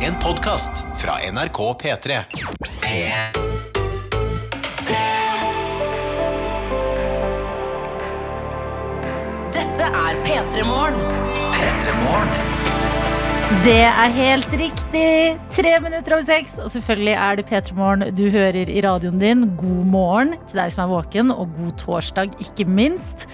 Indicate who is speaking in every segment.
Speaker 1: En podkast fra NRK P3.
Speaker 2: Dette er P3 Morgen.
Speaker 3: Det er helt riktig. Tre minutter over seks, og selvfølgelig er det P3 Morgen du hører i radioen din. God morgen til deg som er våken, og god torsdag, ikke minst.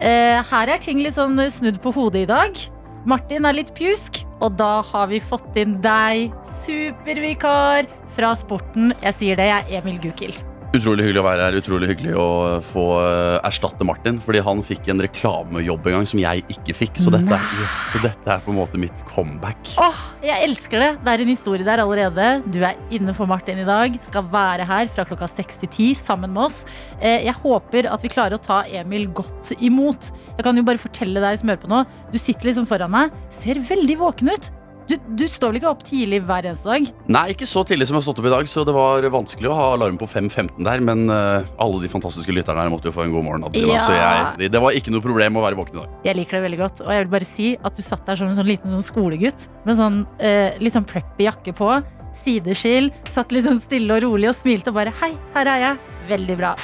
Speaker 3: Eh, her er ting litt sånn snudd på hodet i dag. Martin er litt pjusk, og da har vi fått inn deg, supervikar fra sporten. Jeg sier det, jeg er Emil Gukild.
Speaker 4: Utrolig hyggelig å være her. Utrolig hyggelig å få eh, erstatte Martin. Fordi han fikk en reklamejobb en gang som jeg ikke fikk. Så dette, er, så dette er på en måte mitt comeback.
Speaker 3: Åh, jeg elsker det. Det er en historie der allerede. Du er inne for Martin i dag. Skal være her fra klokka 6 til 10 sammen med oss. Eh, Jeg håper at vi klarer å ta Emil godt imot. Jeg kan jo bare fortelle deg som hører på nå. Du sitter liksom foran meg. Ser veldig våken ut. Du, du står vel ikke opp tidlig hver eneste dag?
Speaker 4: Nei, ikke så tidlig som jeg har stått opp i dag, så det var vanskelig å ha alarm på 5.15 der. Men eh, alle de fantastiske lytterne her måtte jo få en god morgen. av de, da,
Speaker 3: Ja.
Speaker 4: Så jeg, det- det var ikke noe problem å være våken i dag.
Speaker 3: Jeg liker det veldig godt. Og jeg vil bare si at du satt der som en sånn liten sånn skolegutt med sånn eh, litt sånn preppy jakke på. Sideskill. Satt litt sånn stille og rolig og smilte og bare Hei, her er jeg. Veldig bra.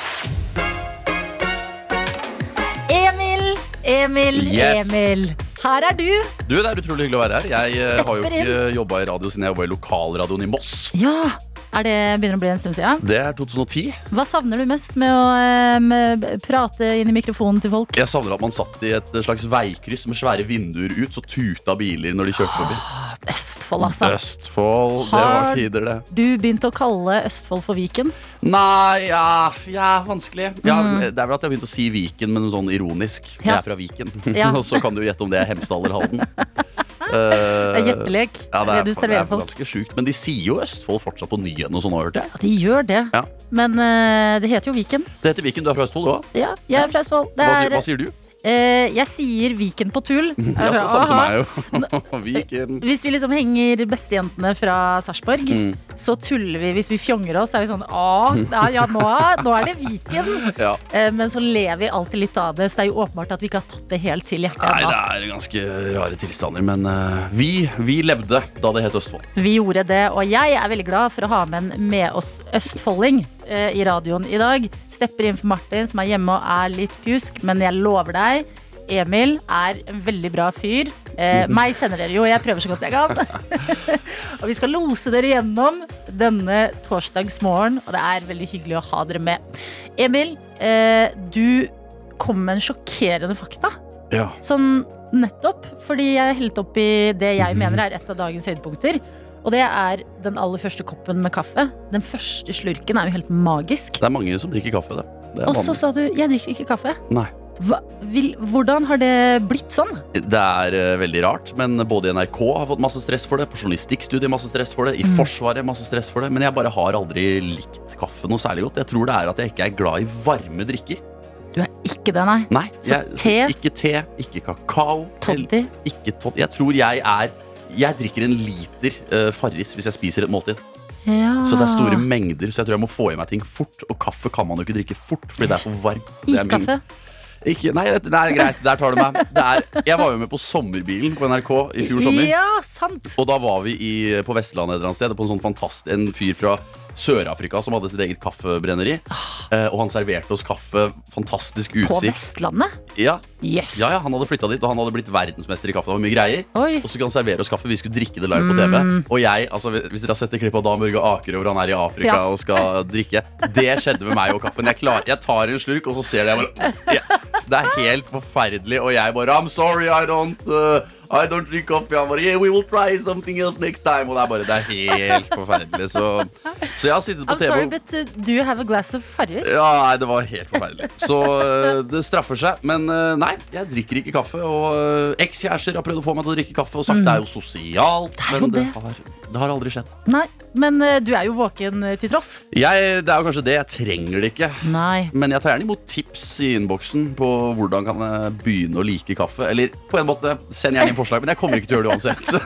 Speaker 3: Emil, Emil,
Speaker 4: Yes.
Speaker 3: Emil. Her er du.
Speaker 4: Du, Det er utrolig hyggelig å være her. Jeg eh, har jo
Speaker 3: Stepper
Speaker 4: ikke jobba i radio siden jeg jobba i lokalradioen i Moss.
Speaker 3: Ja. Er det begynner å bli en stund siden?
Speaker 4: Det er 2010.
Speaker 3: Hva savner du mest med å eh, med, prate inn i mikrofonen til folk?
Speaker 4: Jeg savner at man satt i et slags veikryss med svære vinduer ut, så tuta biler når de kjørte forbi.
Speaker 3: Østfold, altså.
Speaker 4: Østfold, det var
Speaker 3: Har-
Speaker 4: tider, det.
Speaker 3: Du begynte å kalle Østfold for Viken.
Speaker 4: Nei, ja, ja vanskelig. Ja, Det er vel at jeg har begynt å si Viken, men sånn ironisk. Jeg
Speaker 3: Mm. Ja.
Speaker 4: er fra Viken.
Speaker 3: Ja.
Speaker 4: Og så kan du gjette om det er Hemsedal eller Halden.
Speaker 3: Det er
Speaker 4: Eh,
Speaker 3: gjettelek.
Speaker 4: ja, det er,
Speaker 3: du
Speaker 4: det er
Speaker 3: serverer folk.
Speaker 4: ganske sjukt. Men de sier jo Østfold fortsatt på nyhetene og sånn, har jeg hørt det.
Speaker 3: Ja, de gjør det.
Speaker 4: Ja.
Speaker 3: Men eh, det heter jo Viken.
Speaker 4: Det heter Viken, du er fra Østfold du òg.
Speaker 3: Ja, jeg er fra Østfold. Det
Speaker 4: Hva,
Speaker 3: er,
Speaker 4: sier- hva sier du?
Speaker 3: eh, jeg sier Viken på tull.
Speaker 4: Ja, så, samme som meg,
Speaker 3: Aha.
Speaker 4: jo. Viken.
Speaker 3: Hvis vi liksom henger bestejentene fra Sarpsborg,
Speaker 4: Mm.
Speaker 3: så tuller vi. Hvis vi fjonger oss, så er vi sånn Å, ja, ja nå, er- nå er det Viken.
Speaker 4: Ja.
Speaker 3: Eh, men så ler vi alltid litt av det, så det er jo åpenbart at vi ikke har tatt det helt til hjertet
Speaker 4: Nei,
Speaker 3: ennå.
Speaker 4: det er ganske rare tilstander, men eh, vi, vi levde da det het Østfold.
Speaker 3: Vi gjorde det, og jeg er veldig glad for å ha med en med oss østfolding eh, i radioen i dag. Stepper inn for Martin, som er hjemme og er litt pjusk, men jeg lover deg, Emil er en veldig bra fyr. Eh, meg kjenner dere jo, jeg prøver så godt jeg kan. og vi skal lose dere gjennom denne torsdagsmorgen, og det er veldig hyggelig å ha dere med. Emil, eh, du kom med en sjokkerende fakta.
Speaker 4: Ja.
Speaker 3: Sånn nettopp, fordi jeg helte opp i det jeg mener er et av dagens høydepunkter. Og det er den aller første koppen med kaffe. Den første slurken er jo helt magisk.
Speaker 4: Det er mange som drikker kaffe, det. Det er,
Speaker 3: Og så
Speaker 4: vanlig.
Speaker 3: sa du 'jeg drikker ikke kaffe'.
Speaker 4: Nei.
Speaker 3: Hva, vil, hvordan har det blitt sånn?
Speaker 4: det er eh, veldig rart, men både NRK har fått masse stress for det, på journalistikkstudiet masse stress for det, i
Speaker 3: Mm.
Speaker 4: Forsvaret masse stress for det, men jeg bare har aldri likt kaffe noe særlig godt. Jeg tror det er at jeg ikke er glad i varme drikker.
Speaker 3: Du er ikke det, nei.
Speaker 4: Nei,
Speaker 3: Så
Speaker 4: jeg,
Speaker 3: te?
Speaker 4: ikke te, ikke kakao, eller
Speaker 3: Toddy.
Speaker 4: ikke toddy. Jeg tror jeg er jeg drikker en liter eh, Farris hvis jeg spiser et måltid.
Speaker 3: Ja.
Speaker 4: Så det er
Speaker 3: Ah.
Speaker 4: store mengder, så jeg tror jeg må få i meg ting fort. Og kaffe kan man jo ikke drikke fort, fordi det er for varmt. Det er min-
Speaker 3: Iskaffe.
Speaker 4: Ikke, nei, det er greit. Der tar du meg. Det er, jeg var jo med på Sommerbilen på NRK i fjor sommer.
Speaker 3: Ja, sant!
Speaker 4: Og da var vi i, på Vestlandet et eller annet sted, på en sånn fantast, en fyr fra Sør-Afrika som hadde sitt eget kaffebrenneri. Eh, og han serverte oss kaffe. Fantastisk
Speaker 3: På
Speaker 4: utsikt.
Speaker 3: Vestlandet.
Speaker 4: Ja,
Speaker 3: Yes.
Speaker 4: ja, ja, Han hadde flytta dit, og han hadde blitt verdensmester i kaffe. Det var mye greier
Speaker 3: Oi. Mm.
Speaker 4: Og så kunne han servere oss kaffe. Vi skulle drikke det live på TV. Og jeg, altså Hvis dere har sett det klippet av Dan Børge Aker hvor han er i Afrika
Speaker 3: Ja.
Speaker 4: og skal drikke Det skjedde med meg og kaffen. Jeg, klar, jeg tar en slurk, og så ser dere jeg bare ja. Det er helt forferdelig, og jeg bare I'm sorry, I don't uh, I don't drink coffee. Han bare Yeah, we will try something else next time. Og det er bare Det er helt forferdelig. Så, så jeg har sittet på
Speaker 3: I'm
Speaker 4: TV
Speaker 3: sorry,
Speaker 4: og-
Speaker 3: but uh, do you have a glass of Farris?
Speaker 4: ja, nei, det var helt forferdelig. Så øh, det straffer seg. Men øh, nei, jeg drikker ikke kaffe. Og øh, ekskjærester har prøvd å få meg til å drikke kaffe og sagt det er jo sosialt.
Speaker 3: er jo
Speaker 4: men det
Speaker 3: Mm. det.
Speaker 4: har, det har aldri skjedd.
Speaker 3: Nei, men uh, du er jo våken uh, til tross.
Speaker 4: Jeg, det er jo kanskje det. Jeg trenger det ikke.
Speaker 3: Nei.
Speaker 4: Men jeg tar gjerne imot tips i innboksen på hvordan kan jeg begynne å like kaffe. Eller på en måte, send gjerne inn forslag, men jeg kommer ikke til å gjøre det uansett.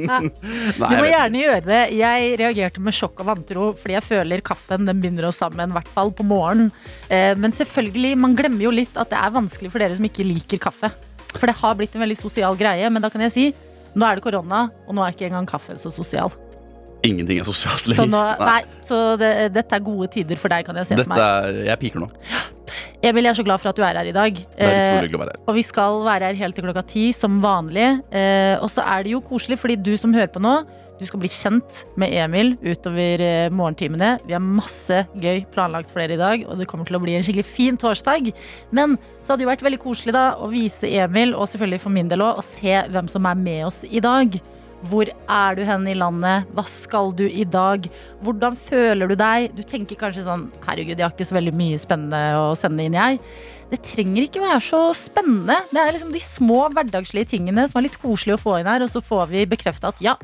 Speaker 4: Men, nei,
Speaker 3: Du må
Speaker 4: jeg vet ikke.
Speaker 3: gjerne gjøre det. Jeg reagerte med sjokk og vantro, fordi jeg føler kaffen den binder oss sammen, i hvert fall på morgenen. Eh, Men selvfølgelig, man glemmer jo litt at det er vanskelig for dere som ikke liker kaffe. For det har blitt en veldig sosial greie, men da kan jeg si nå er det korona, og nå er ikke engang kaffe så sosial.
Speaker 4: Ingenting er sosialt
Speaker 3: Så, nå,
Speaker 4: Nei.
Speaker 3: nei, så det, dette er gode tider for deg, kan jeg se for
Speaker 4: Dette
Speaker 3: meg.
Speaker 4: er, jeg piker nå.
Speaker 3: Emil, jeg er så glad for at du er her i dag.
Speaker 4: Det er
Speaker 3: Eh,
Speaker 4: utrolig hyggelig å være her.
Speaker 3: Og vi skal være her helt til klokka ti, som vanlig. Eh, og så er det jo koselig, fordi du som hører på nå, du skal bli kjent med Emil utover eh, morgentimene. Vi har masse gøy planlagt for dere i dag, og det kommer til å bli en skikkelig fin torsdag. Men så hadde det jo vært veldig koselig da å vise Emil, og selvfølgelig for min del òg, å se hvem som er med oss i dag. Hvor er du hen i landet? Hva skal du i dag? Hvordan føler du deg? Du tenker kanskje sånn Herregud, jeg har ikke så veldig mye spennende å sende inn, jeg. Det trenger ikke være så spennende. Det er liksom de små hverdagslige tingene som er litt koselig å få inn her, og så får vi bekrefta at ja,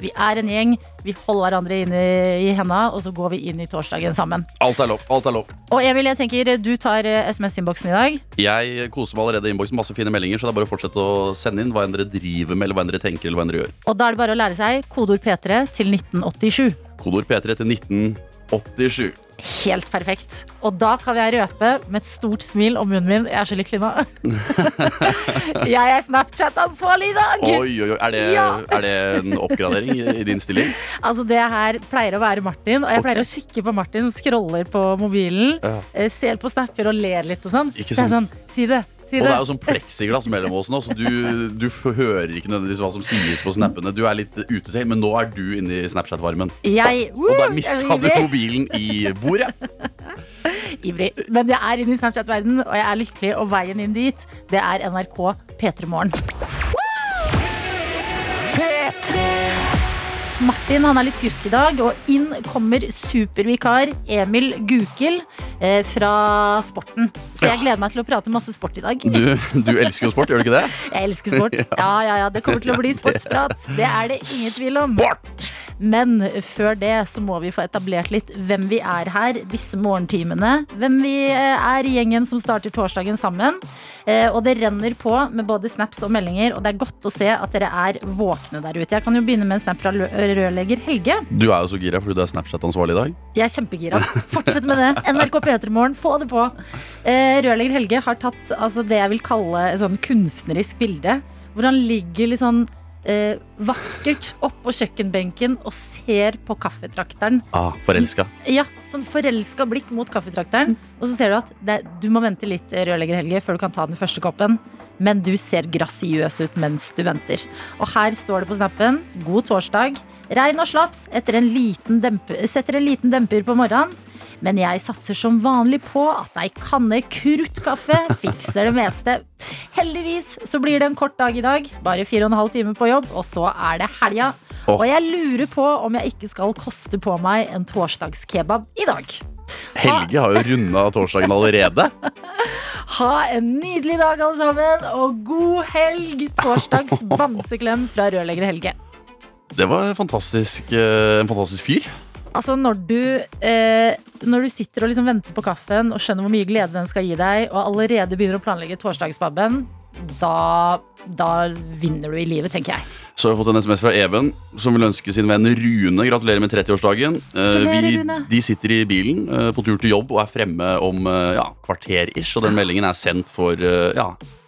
Speaker 3: vi er en gjeng, vi holder hverandre inn i, i henda, og så går vi inn i torsdagen sammen.
Speaker 4: Alt er lov. alt er lov
Speaker 3: Og Emil, jeg tenker du tar eh, SMS-innboksen i dag.
Speaker 4: Jeg koser meg allerede i innboksen. Masse fine meldinger. Så det er bare å fortsette å sende inn hva enn dere driver med, eller hva enn dere tenker, eller hva enn dere gjør.
Speaker 3: Og da er det bare å lære seg kodeord P3 til 1987.
Speaker 4: Kodord P3 til 1987.
Speaker 3: Helt perfekt. Og da kan jeg røpe med et stort smil om munnen min. Jeg er så litt klima. jeg er Snapchat-ansvarlig i dag!
Speaker 4: Oi, oi, oi. Er det,
Speaker 3: Ja.
Speaker 4: er det en oppgradering i, i din stilling?
Speaker 3: Altså Det her pleier å være Martin, og jeg pleier å kikke på Martin som scroller på mobilen,
Speaker 4: Ja.
Speaker 3: eh, ser på snapper og ler litt og sånn.
Speaker 4: Ikke
Speaker 3: Så jeg er
Speaker 4: sant?
Speaker 3: Sånn, si det, si
Speaker 4: Og
Speaker 3: det.
Speaker 4: det er jo sånn pleksiglass mellom oss nå, så du, du f- hører ikke nødvendigvis hva som sies på snappene. Du er litt ute selv, men nå er du inne i Snapchat-varmen.
Speaker 3: Jeg,
Speaker 4: Og
Speaker 3: Woo!
Speaker 4: der
Speaker 3: Jeg
Speaker 4: mista
Speaker 3: er
Speaker 4: du
Speaker 3: ivrig.
Speaker 4: mobilen i bordet.
Speaker 3: Ivrig. Men jeg er inne i Snapchat-verden, og jeg er lykkelig, og veien inn dit, det er NRK P3 Morgen. Martin han er litt gusk i dag, og inn kommer supervikar Emil Gukild eh, fra Sporten. Så jeg gleder meg til å prate masse sport i dag.
Speaker 4: Du, du elsker jo sport, gjør du ikke det?
Speaker 3: Jeg elsker sport. Ja, ja, ja, det kommer til å bli sportsprat. Det er det ingen tvil om. Men før det så må vi få etablert litt hvem vi er her disse morgentimene. Hvem vi eh, er i gjengen som starter torsdagen sammen. Eh, Og det renner på med både snaps og meldinger, og det er godt å se at dere er våkne der ute. Jeg kan jo begynne med en snap fra lø- rørlegger Helge.
Speaker 4: Du er jo så gira fordi du er Snapchat-ansvarlig i dag.
Speaker 3: Jeg er kjempegira. Fortsett med det. NRK P3morgen, få det på. Eh, Rørlegger Helge har tatt altså, det jeg vil kalle et sånn kunstnerisk bilde. Hvor han ligger litt sånn eh, vakkert oppå kjøkkenbenken og ser på kaffetrakteren.
Speaker 4: Ah, Forelska.
Speaker 3: Ja, sånn forelska blikk mot kaffetrakteren. Og så ser du at det, du må vente litt eh, rørlegger Helge, før du kan ta den første koppen. Men du ser grasiøs ut mens du venter. Og her står det på snappen God torsdag. Regn og slaps etter en liten demper, setter en liten demper på morgenen. Men jeg satser som vanlig på at ei kanne kruttkaffe fikser det meste. Heldigvis så blir det en kort dag i dag. Bare fire og en halv time på jobb, og så er det helga.
Speaker 4: Åh.
Speaker 3: Og jeg lurer på om jeg ikke skal koste på meg en torsdagskebab i dag.
Speaker 4: Helge har jo runda torsdagen allerede.
Speaker 3: Ha en nydelig dag, alle sammen, og god helg! Torsdags bamseklem fra rørlegger Helge.
Speaker 4: Det var en fantastisk, eh, en fantastisk fyr.
Speaker 3: Altså når du, eh, når du sitter og liksom venter på kaffen og skjønner hvor mye glede den skal gi deg, og allerede begynner å planlegge torsdagsbabben, da, da vinner du i livet, tenker jeg.
Speaker 4: Så har vi fått en SMS fra Even, som vil ønske sin venn Rune gratulerer med 30-årsdagen. Eh,
Speaker 3: Gratulerer,
Speaker 4: vi-
Speaker 3: Rune.
Speaker 4: De sitter i bilen eh, på tur til jobb og er fremme om eh, ja, kvarter ish, og den meldingen er sendt for eh, ja,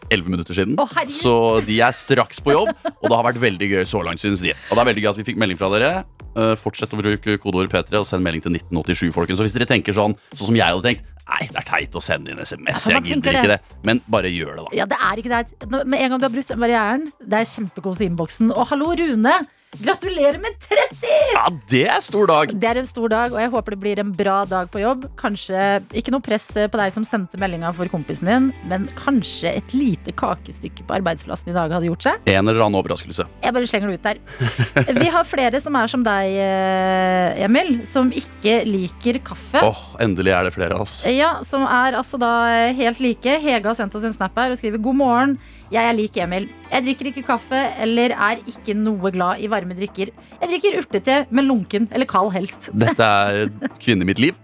Speaker 4: 11 minutter siden.
Speaker 3: Å, herregud.
Speaker 4: så de er straks på jobb, og det har vært veldig gøy så langt, synes de. Og det er veldig gøy at vi fikk melding fra dere. Eh, Fortsett å bruke kodeord P3 og send melding til 1987, folkens. Så hvis dere tenker sånn, sånn som jeg hadde tenkt, nei, det er teit å sende inn SMS,
Speaker 3: Ja, for
Speaker 4: jeg
Speaker 3: man
Speaker 4: gidder
Speaker 3: tenker
Speaker 4: ikke det.
Speaker 3: det.
Speaker 4: Men bare gjør det, da.
Speaker 3: Ja, det er ikke det. Nå- Med en gang du har brutt den barrieren, det er kjempekos i innboksen. Og hallo, Rune! Gratulerer med 30!
Speaker 4: Ja, det er stor dag!
Speaker 3: Det er en stor dag, og jeg håper det blir en bra dag på jobb. Kanskje ikke noe press på deg som sendte meldinga for kompisen din, men kanskje et lite kakestykke på arbeidsplassen i dag hadde gjort seg.
Speaker 4: En eller annen overraskelse.
Speaker 3: Jeg bare slenger det ut der. Vi har flere som er som deg, eh, Emil, som ikke liker kaffe.
Speaker 4: Åh, endelig er det flere av oss.
Speaker 3: Ja, som er altså da helt like. Hege har sendt oss en snap her og skriver God morgen, jeg er lik Emil. Jeg drikker ikke kaffe eller er ikke noe glad i varme drikker. Jeg drikker urtete, men lunken eller kald helst.
Speaker 4: Dette er kvinne i mitt liv.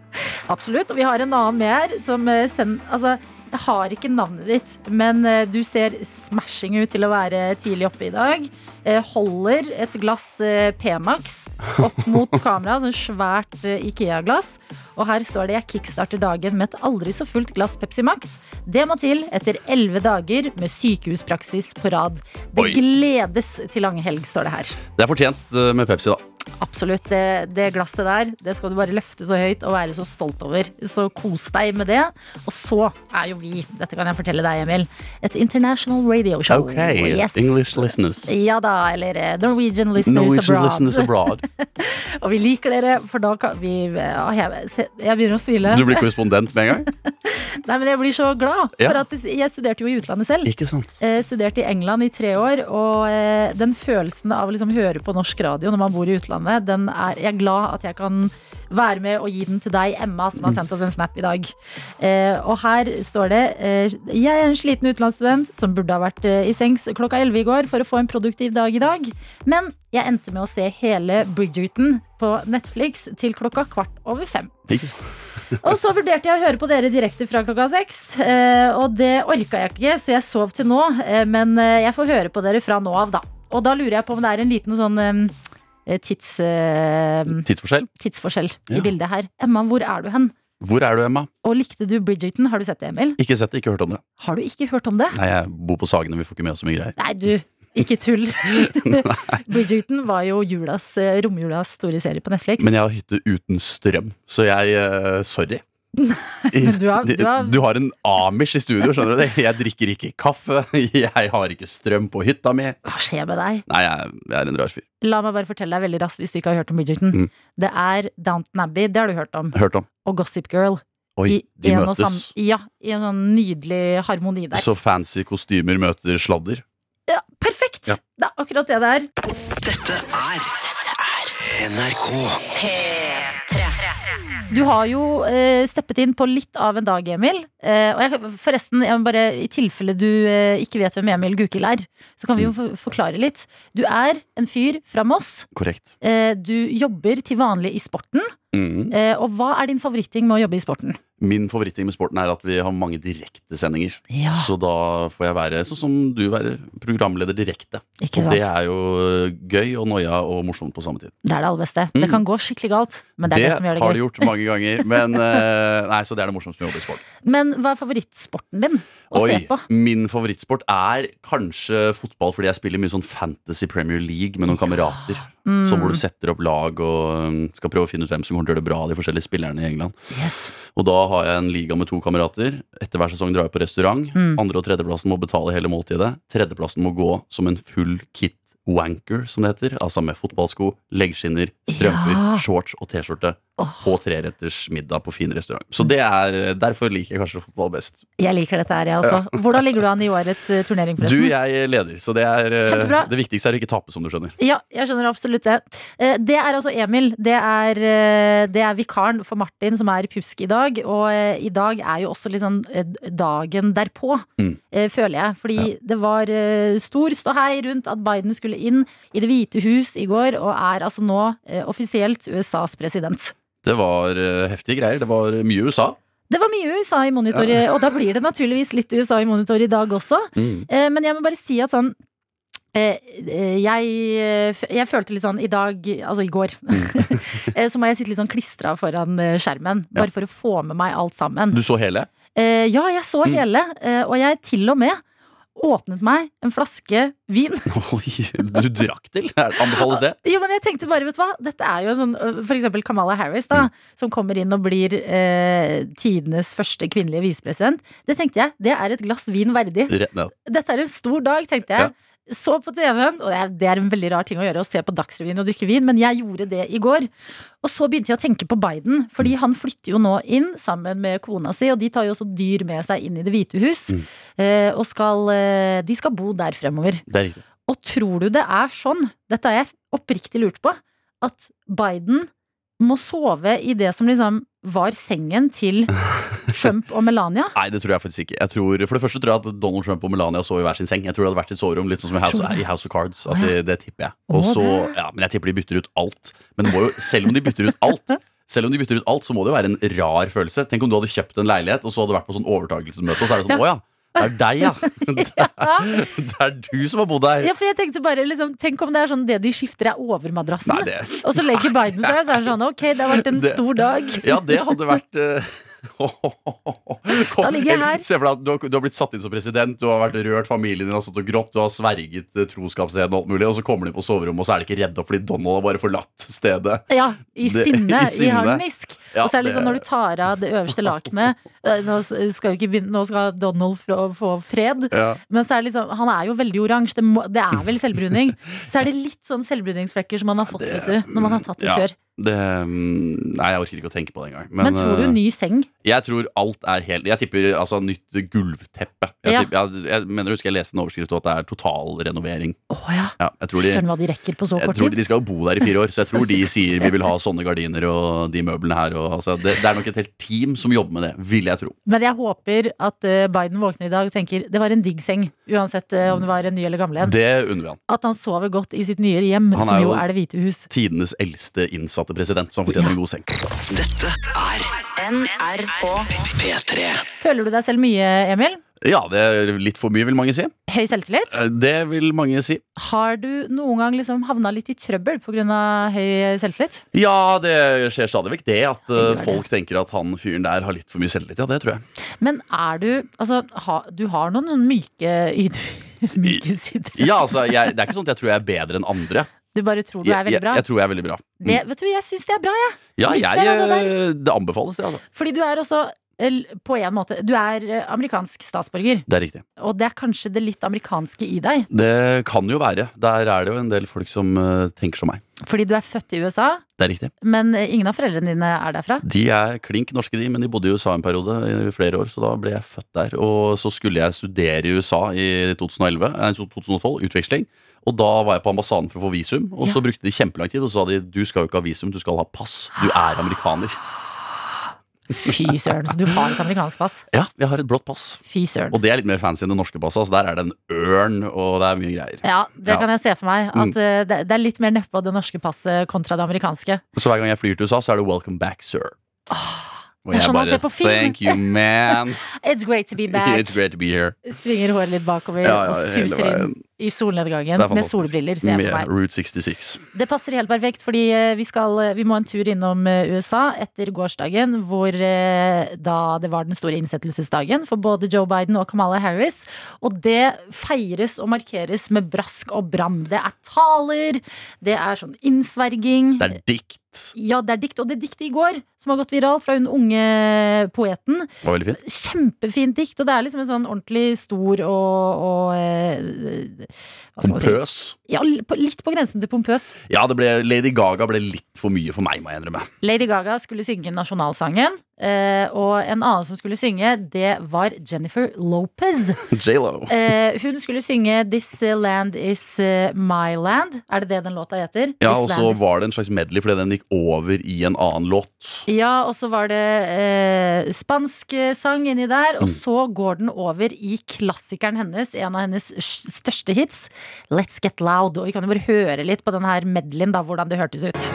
Speaker 3: Absolutt. Og vi har en annen med her som eh, send... Altså, jeg har ikke navnet ditt, men eh, du ser smashing ut til å være tidlig oppe i dag. Eh, Holder et glass eh, P-Max opp mot kameraet, sånn svært eh, Ikea-glass. Og her står det 'Jeg kickstarter dagen med et aldri så fullt glass Pepsi Max'. Det må til etter elleve dager med sykehuspraksis på rad. Det
Speaker 4: Oi.
Speaker 3: gledes til langhelg, står det her.
Speaker 4: Det er fortjent eh, med Pepsi, da.
Speaker 3: Absolutt. Det, det glasset der det skal du bare løfte så høyt og være så stolt over. Så kos deg med det. Og så er jo vi, dette kan jeg fortelle deg, Emil, et international radio show.
Speaker 4: Ok,
Speaker 3: Oh, Yes.
Speaker 4: English listeners.
Speaker 3: Ja da, eller eh, Norwegian listeners
Speaker 4: Norwegian
Speaker 3: abroad.
Speaker 4: listeners abroad.
Speaker 3: Og vi liker dere, for da kan vi Åh, jeg, se- jeg begynner å smile.
Speaker 4: Du blir korrespondent med en gang?
Speaker 3: Nei, men jeg blir så glad.
Speaker 4: Ja.
Speaker 3: For at jeg studerte jo i utlandet selv.
Speaker 4: Ikke sant.
Speaker 3: Eh, studerte i England i tre år, og eh, den følelsen av å liksom høre på norsk radio når man bor i utlandet, den er jeg er glad at jeg kan være med og gi den til deg, Emma, som har sendt oss en snap i dag. Eh, og her står det eh, Jeg er en sliten utenlandsstudent som burde ha vært eh, i sengs klokka 11 i går for å få en produktiv dag i dag, men jeg endte med å se hele Bridgerton på Netflix til klokka kvart over fem.
Speaker 4: Ikke sant.
Speaker 3: Og så vurderte jeg å høre på dere direkte fra klokka seks. eh, Og det orka jeg ikke, så jeg sov til nå. eh, Men eh, jeg får høre på dere fra nå av, da. Og da lurer jeg på om det er en liten sånn eh, tids, eh,
Speaker 4: Tidsforskjell.
Speaker 3: tidsforskjell
Speaker 4: Ja.
Speaker 3: i bildet her. Emma, hvor er du hen?
Speaker 4: Hvor er du, Emma?
Speaker 3: Og likte du Bridgerton? Har du sett det, Emil?
Speaker 4: Ikke sett det, ikke hørt om det.
Speaker 3: Har du ikke hørt om det?
Speaker 4: Nei, jeg bor på Sagene, vi får ikke med oss så mye greier.
Speaker 3: Nei, du. Ikke tull. Bridgerton var jo julas, eh, romjulas store serie på Netflix.
Speaker 4: Men jeg har hytte uten strøm, så jeg eh, Sorry.
Speaker 3: Men du har- du har-
Speaker 4: Du har en amish i studio, skjønner du det? Jeg drikker ikke kaffe, jeg har ikke strøm på hytta mi.
Speaker 3: Hva skjer med deg?
Speaker 4: Nei, jeg, jeg er en rar fyr.
Speaker 3: La meg bare fortelle deg veldig raskt hvis du ikke har hørt om Bridgerton.
Speaker 4: Mm.
Speaker 3: Det er Downton Abbey, det har du hørt om.
Speaker 4: Hørt om.
Speaker 3: og Gossip Girl.
Speaker 4: Oi,
Speaker 3: i
Speaker 4: de
Speaker 3: en og
Speaker 4: møtes.
Speaker 3: samme- ja, i en sånn nydelig harmoni der.
Speaker 4: Så fancy kostymer møter sladder.
Speaker 3: Ja, perfekt!
Speaker 4: Ja.
Speaker 3: Det er akkurat det det er. Du har jo eh, steppet inn på litt av en dag, Emil. Eh, og jeg, forresten, jeg må bare, i tilfelle du eh, ikke vet hvem Emil Gukild er, så kan vi jo for forklare litt. Du er en fyr fra Moss.
Speaker 4: Korrekt.
Speaker 3: Eh, du jobber til vanlig i sporten.
Speaker 4: Mhm.
Speaker 3: Eh, og hva er din favoritting med å jobbe i sporten?
Speaker 4: Min favoritting med sporten er at vi har mange direktesendinger.
Speaker 3: Ja,
Speaker 4: Så da får jeg være sånn som du være programleder direkte.
Speaker 3: ikke
Speaker 4: Og
Speaker 3: sant?
Speaker 4: det er jo eh, gøy og noia og morsomt på samme tid.
Speaker 3: Det er det aller beste. Det
Speaker 4: Mm.
Speaker 3: kan gå skikkelig galt, men det er det, som gjør det
Speaker 4: har
Speaker 3: gøy.
Speaker 4: du gjort mange ganger. Men eh, nei, så det er det morsomste med å jobbe i sport.
Speaker 3: Men hva er favorittsporten din å se på?
Speaker 4: min favorittsport er kanskje fotball, fordi jeg spiller mye sånn Fantasy Premier League med noen kamerater.
Speaker 3: Mm.
Speaker 4: Så hvor du setter opp lag og mm, skal prøve å finne ut hvem som kommer til å gjøre det bra, de forskjellige spillerne i England.
Speaker 3: Yes.
Speaker 4: Og da har jeg en liga med to kamerater. Etter hver sesong drar jeg på restaurant.
Speaker 3: Mm.
Speaker 4: Andre- og tredjeplassen må betale hele måltidet. Tredjeplassen må gå som en full kit wanker, som det heter. Altså med fotballsko, leggskinner, strømper,
Speaker 3: Ja.
Speaker 4: shorts og T-skjorte. På treretters middag på fin restaurant. Så det er, derfor liker jeg kanskje fotball best.
Speaker 3: Jeg liker dette her, jeg også. Hvordan ligger du an i årets eh, turnering,
Speaker 4: Du,
Speaker 3: forresten?
Speaker 4: jeg leder, så det er eh,
Speaker 3: Kjempebra.
Speaker 4: Det viktigste er å ikke tape, som du skjønner.
Speaker 3: Ja, jeg skjønner absolutt det. Eh, Det er altså Emil. Det er, eh, det er vikaren for Martin som er pjusk i dag. Og eh, i dag er jo også litt sånn eh, dagen derpå,
Speaker 4: Mm.
Speaker 3: eh, føler jeg. Fordi det var eh, stor ståhei rundt at Biden skulle inn i Det hvite hus i går, og er altså nå eh, offisielt USAs president.
Speaker 4: Det var eh, heftige greier. Det var mye USA.
Speaker 3: Det var mye USA i monitor, og da blir det naturligvis litt USA i monitor i dag også.
Speaker 4: Mm.
Speaker 3: Eh, men jeg må bare si at sånn eh, eh, jeg, eh, f- jeg følte litt sånn i dag, altså i går eh, Så må jeg sitte litt sånn klistra foran eh, skjermen,
Speaker 4: Mm. Ja.
Speaker 3: bare for å få med meg alt sammen.
Speaker 4: Du Mm. så hele?
Speaker 3: Eh, ja, jeg så hele, eh, og jeg til og med åpnet meg en flaske vin.
Speaker 4: Oi, du drakk til? Anbefales det?
Speaker 3: Jo, men jeg tenkte bare, vet du hva Dette er jo en sånn, øh, for eksempel Kamala Harris da Som kommer inn og blir eh, Tidenes første kvinnelige visepresident Det tenkte jeg, det er et glass vin verdig
Speaker 4: Rett ned.
Speaker 3: Dette er en stor dag, tenkte jeg
Speaker 4: Ja.
Speaker 3: Så på TV-en, og det er, det er en veldig rar ting å gjøre Å se på dagsrevyen og drikke vin, men jeg gjorde det i går Og så begynte jeg å tenke på Biden Fordi han flytter jo nå inn sammen med kona si Og de tar jo også dyr med seg inn i det hvite hus eh, Og skal, eh, de skal bo der fremover
Speaker 4: Det er riktig.
Speaker 3: og tror du det er sånn, dette har jeg oppriktig lurt på, at Biden må sove i det som liksom var sengen til Trump og Melania?
Speaker 4: Nei, det tror jeg faktisk ikke. Jeg tror, for det første tror jeg at Donald Trump og Melania sov i hver sin seng. Jeg tror det hadde vært sitt soverom, litt sånn som i House,
Speaker 3: Tror du det?
Speaker 4: i House of Cards.
Speaker 3: Å,
Speaker 4: At
Speaker 3: ja.
Speaker 4: det, det tipper jeg. Og
Speaker 3: Å,
Speaker 4: så,
Speaker 3: det.
Speaker 4: ja, Men jeg tipper de bytter ut alt. Men det må jo, selv om de bytter ut alt, selv om de bytter ut alt, så må det jo være en rar følelse. Tenk om du hadde kjøpt en leilighet, og så hadde du vært på sånn overtakelsesmøte, og så er det sånn, å ja. Det er deg, ja!
Speaker 3: Ja,
Speaker 4: Det er du som har bodd her!
Speaker 3: for jeg tenkte bare liksom, Tenk om det er sånn det de skifter er overmadrassen.
Speaker 4: Nei, det
Speaker 3: Og så legger Biden seg, og så er det sånn Ok, det har vært en
Speaker 4: Det-
Speaker 3: stor dag.
Speaker 4: Ja, det hadde vært eh, Kom,
Speaker 3: Da ligger jeg her.
Speaker 4: Se for deg at du har, du har blitt satt inn som president, du har vært rørt, familien din har stått og grått, du har sverget eh, troskapsheden og alt mulig, og så kommer de på soverommet, og så er det ikke redd opp fordi Donald har bare forlatt stedet.
Speaker 3: Ja, i
Speaker 4: Det-
Speaker 3: sinne,
Speaker 4: i
Speaker 3: i,
Speaker 4: sinne.
Speaker 3: harnisk.
Speaker 4: Ja,
Speaker 3: og så er det
Speaker 4: det-
Speaker 3: liksom når du tar av det øverste lakenet eh, Nå s- skal jo ikke begynne, nå skal Donald få, få fred.
Speaker 4: Ja.
Speaker 3: Men så er det liksom, han er jo veldig oransje. Det, må- det er vel selvbruning. Så er det litt sånn selvbruningsflekker som man har fått
Speaker 4: Det-
Speaker 3: vet du, når man har tatt det
Speaker 4: ja.
Speaker 3: før.
Speaker 4: Det, mm, nei, jeg orker ikke å tenke på det engang.
Speaker 3: Men, tror
Speaker 4: eh,
Speaker 3: du ny seng?
Speaker 4: Jeg tror alt er helt Jeg tipper altså nytt gulvteppe. Jeg,
Speaker 3: Ja.
Speaker 4: tipper, jeg, jeg mener, husker jeg leste en overskrift om at det er totalrenovering.
Speaker 3: Å ja.
Speaker 4: Ja, jeg tror de,
Speaker 3: Søren hva de rekker på så
Speaker 4: jeg
Speaker 3: kort
Speaker 4: tror de,
Speaker 3: tid.
Speaker 4: de skal jo bo der i fire år, så jeg tror de sier vi vil ha sånne gardiner og de møblene her. Og, altså, det, det er nok et helt team som jobber med det, vil jeg tro.
Speaker 3: Men jeg håper at eh, Biden våkner i dag og tenker det var en digg seng. Uansett eh, om det var en ny eller gammel en.
Speaker 4: Det unner vi han.
Speaker 3: At han sover godt i sitt nye hjem,
Speaker 4: Han er
Speaker 3: som jo
Speaker 4: jo-
Speaker 3: er Det hvite hus.
Speaker 4: Tidenes eldste innsatte president, som fortjener en god seng.
Speaker 2: NRK.
Speaker 3: Føler du deg selv mye, Emil?
Speaker 4: Ja, det er litt for mye, vil mange si.
Speaker 3: Høy selvtillit?
Speaker 4: Eh, Det vil mange si.
Speaker 3: Har du noen gang liksom havna litt i trøbbel pga. høy selvtillit?
Speaker 4: Ja, det skjer stadig vekk det at eh,
Speaker 3: gjør det.
Speaker 4: folk tenker at han fyren der har litt for mye selvtillit. Ja, det tror jeg.
Speaker 3: Men er du Altså, ha, du har noen sånne myke, ydmyke- myke sider.
Speaker 4: Ja, altså, jeg, Det er ikke sånn at jeg tror jeg er bedre enn andre.
Speaker 3: Du bare tror du er
Speaker 4: jeg,
Speaker 3: veldig bra.
Speaker 4: jeg tror jeg er veldig bra. Mm.
Speaker 3: Det, vet du, jeg syns det er bra, jeg.
Speaker 4: ja,
Speaker 3: litt
Speaker 4: jeg,
Speaker 3: bedre enn det
Speaker 4: eh, det anbefales, det. altså
Speaker 3: Fordi du er også el- på en måte Du er eh, amerikansk statsborger,
Speaker 4: Det er riktig.
Speaker 3: og det er kanskje det litt amerikanske i deg.
Speaker 4: Det kan jo være. Der er det jo en del folk som eh, tenker som meg.
Speaker 3: Fordi du er født i USA,
Speaker 4: Det er riktig.
Speaker 3: men eh, ingen av foreldrene dine er derfra.
Speaker 4: De er klink norske, de, men de bodde i USA en periode i flere år, så da ble jeg født der. Og så skulle jeg studere i USA i 2011, nei, 2012, utveksling. Og da var jeg på ambassaden for å få visum, og
Speaker 3: Ja.
Speaker 4: så brukte de kjempelang tid. Og så sa de du skal jo ikke ha visum, du skal ha pass. Du er amerikaner.
Speaker 3: Fy søren, så du har et amerikansk pass.
Speaker 4: Ja, jeg har et blått pass.
Speaker 3: Fy søren.
Speaker 4: Og det er litt mer fancy enn det norske passet. Altså, der er det en ørn, og det er mye greier.
Speaker 3: Ja, det
Speaker 4: Ja.
Speaker 3: kan jeg se for meg. At
Speaker 4: Mm.
Speaker 3: eh, det, det er litt mer nedpå det norske passet kontra det amerikanske.
Speaker 4: Så hver gang jeg flyr til USA, så er det 'Welcome back, sir'. Og
Speaker 3: det er
Speaker 4: jeg
Speaker 3: sånn man ser på film.
Speaker 4: Thank you, man.
Speaker 3: It's great to be back.
Speaker 4: It's great to be here.
Speaker 3: Svinger håret litt bakover
Speaker 4: Ja, ja,
Speaker 3: og
Speaker 4: hele
Speaker 3: suser inn
Speaker 4: veien.
Speaker 3: i solnedgangen
Speaker 4: Det er
Speaker 3: med
Speaker 4: fantastisk.
Speaker 3: solbriller. Ser jeg
Speaker 4: Med
Speaker 3: for meg.
Speaker 4: Route 66.
Speaker 3: Det passer helt perfekt, fordi eh, vi, skal, eh, vi må en tur innom eh, USA etter gårsdagen, hvor eh, da det var den store innsettelsesdagen for både Joe Biden og Kamala Harris. Og det feires og markeres med brask og bram. Det er taler, det er sånn innsverging.
Speaker 4: Det er dikt.
Speaker 3: Ja, det er dikt. Og det diktet i går som har gått viralt fra hun unge poeten.
Speaker 4: Det var veldig fint.
Speaker 3: Kjempefint dikt, og det er liksom en sånn ordentlig stor og, og eh, Hva skal man si?
Speaker 4: Pompøs.
Speaker 3: Ja, l- på- litt på grensen til pompøs.
Speaker 4: Ja, det ble, Lady Gaga ble litt for mye for meg, må jeg innrømme.
Speaker 3: Lady Gaga skulle synge nasjonalsangen, eh, og en annen som skulle synge, det var Jennifer Lopez.
Speaker 4: J.Lo.
Speaker 3: Eh, hun skulle synge 'This Land Is eh, My Land'. Er det det den låta heter?
Speaker 4: Ja,
Speaker 3: This
Speaker 4: og så
Speaker 3: land is-
Speaker 4: var det en slags medley fordi den gikk over i en annen låt.
Speaker 3: ja, og så var det eh, spansk eh, sang inni der, og så går den over i klassikeren hennes, en av hennes s- største hits, 'Let's Get Loud'. Og vi kan jo bare høre litt på den her medleyen, da, hvordan det hørtes ut.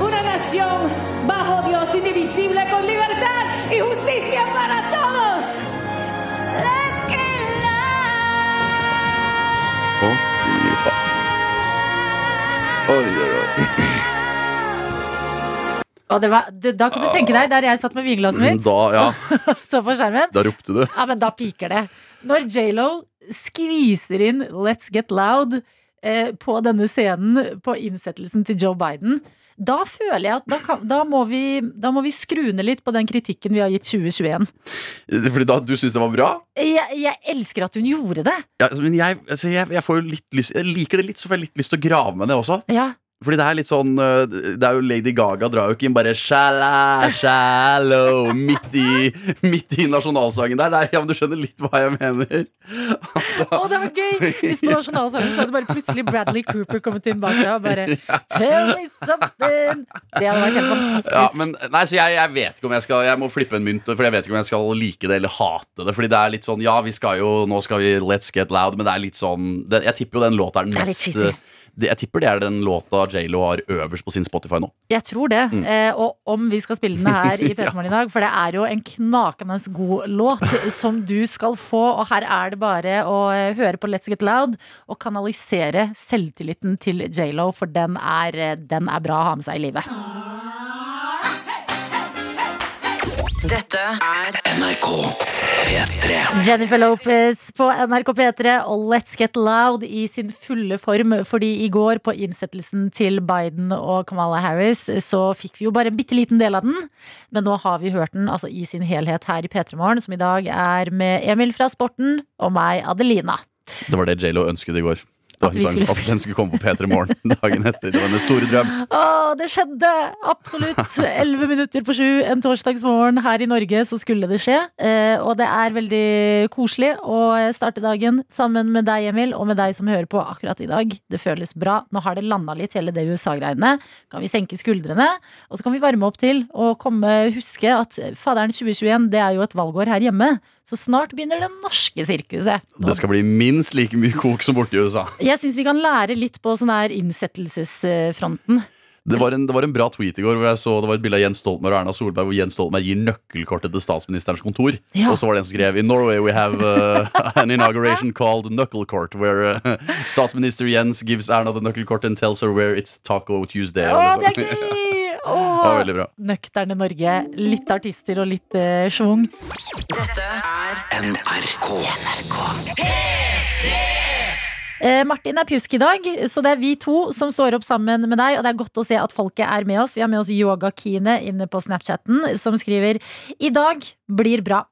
Speaker 5: Una nación bajo Dios indivisible con libertad y justicia para todos. Let's get loud.
Speaker 4: Å, fy faen. Oi, oi, oi.
Speaker 3: Og det var, det, da kan du tenke deg, der jeg satt med vinglasset mitt,
Speaker 4: Mm, Da, ja,
Speaker 3: så på skjermen,
Speaker 4: da ropte du.
Speaker 3: ja, men da piker det. Når J.Lo skviser inn Let's Get Loud eh, på denne scenen på innsettelsen til Joe Biden, da føler jeg at da, kan, da, må vi, da må vi skru ned litt på den kritikken vi har gitt 2021.
Speaker 4: Fordi da du syntes det var bra?
Speaker 3: Jeg, jeg elsker at hun gjorde det.
Speaker 4: Ja, altså, men jeg, altså, jeg, jeg får jo litt lyst Jeg liker det litt, så får jeg litt lyst til å grave meg ned også.
Speaker 3: Ja,
Speaker 4: Fordi det er litt sånn øh, Det er jo Lady Gaga drar jo ikke inn bare Shala, shallow midt i, midt i nasjonalsangen der. Nei, ja, men du skjønner litt hva jeg mener.
Speaker 3: Å, det var gøy! Hvis på nasjonalsangen så hadde bare plutselig Bradley Cooper kommet inn bakfra og bare Tell me something! Det hadde vært helt fantastisk.
Speaker 4: Ja, men, nei, så jeg, jeg vet ikke om jeg skal Jeg må flippe en mynt, for jeg vet ikke om jeg skal like det eller hate det. Fordi det er litt sånn Ja, vi skal jo Nå skal vi Let's Get Loud, men det er litt sånn det, Jeg tipper jo den låta er den
Speaker 3: Det er litt
Speaker 4: mest
Speaker 3: cheesy.
Speaker 4: øh, det, Jeg tipper det er den låta J.Lo har øverst på sin Spotify nå.
Speaker 3: Jeg tror det. Eh, og om vi skal spille den her i P3 Morgen i dag, for det er jo en knakende god låt som du skal få. Og her er det bare å eh, høre på Let's Get Loud og kanalisere selvtilliten til J.Lo, for den er, eh, den er bra å ha med seg i livet.
Speaker 2: Dette er
Speaker 3: Jennifer Lopez på NRK P3 og Let's Get Loud i sin fulle form. Fordi i går, på innsettelsen til Biden og Kamala Harris, så fikk vi jo bare en bitte liten del av den. Men nå har vi hørt den altså, i sin helhet her i P3 Morgen, som i dag er med Emil fra Sporten og meg, Adelina.
Speaker 4: Det var det J.Lo ønsket i går. Det var
Speaker 3: At
Speaker 4: en
Speaker 3: vi
Speaker 4: sang,
Speaker 3: skulle
Speaker 4: at den skulle komme på P3 Morgen dagen etter. Det var hennes store drøm.
Speaker 3: Å, det skjedde! Absolutt. Elleve minutter på sju en torsdagsmorgen her i Norge, så skulle det skje. Eh, og det er veldig koselig å starte dagen sammen med deg, Emil, og med deg som hører på akkurat i dag. Det føles bra. Nå har det landa litt, hele det USA-greiene. Kan vi senke skuldrene, og så kan vi varme opp til og komme, huske at faderen 2021, det er jo et valgår her hjemme. Så snart begynner det norske sirkuset.
Speaker 4: Det skal bli minst like mye kok som borte i USA.
Speaker 3: Jeg syns vi kan lære litt på sånn her innsettelsesfronten.
Speaker 4: Det var, en, det var en bra tweet i går hvor jeg så det var et bilde av Jens Stoltenberg og Erna Solberg hvor Jens Stoltenberg gir nøkkelkortet til statsministerens kontor.
Speaker 3: Ja.
Speaker 4: Og så var det en som skrev In Norway we have uh, an inauguration called knucklecourt, where uh, statsminister Jens gives Erna the knucklecourt and tells her where it's Taco Tuesday.
Speaker 3: Å,
Speaker 4: eller
Speaker 3: det
Speaker 4: noe
Speaker 3: er
Speaker 4: sånt.
Speaker 3: gøy!
Speaker 4: Det var
Speaker 3: Åh.
Speaker 4: veldig bra.
Speaker 3: Nøkterne Norge. Litt artister og litt eh, schwung.
Speaker 2: Dette er
Speaker 3: Eh, Martin er pjusk i dag, så det er vi to som står opp sammen med deg. Og det er godt å se at folket er med oss. Vi har med oss Yoga-Kine inne på Snapchatten, som skriver I dag blir bra.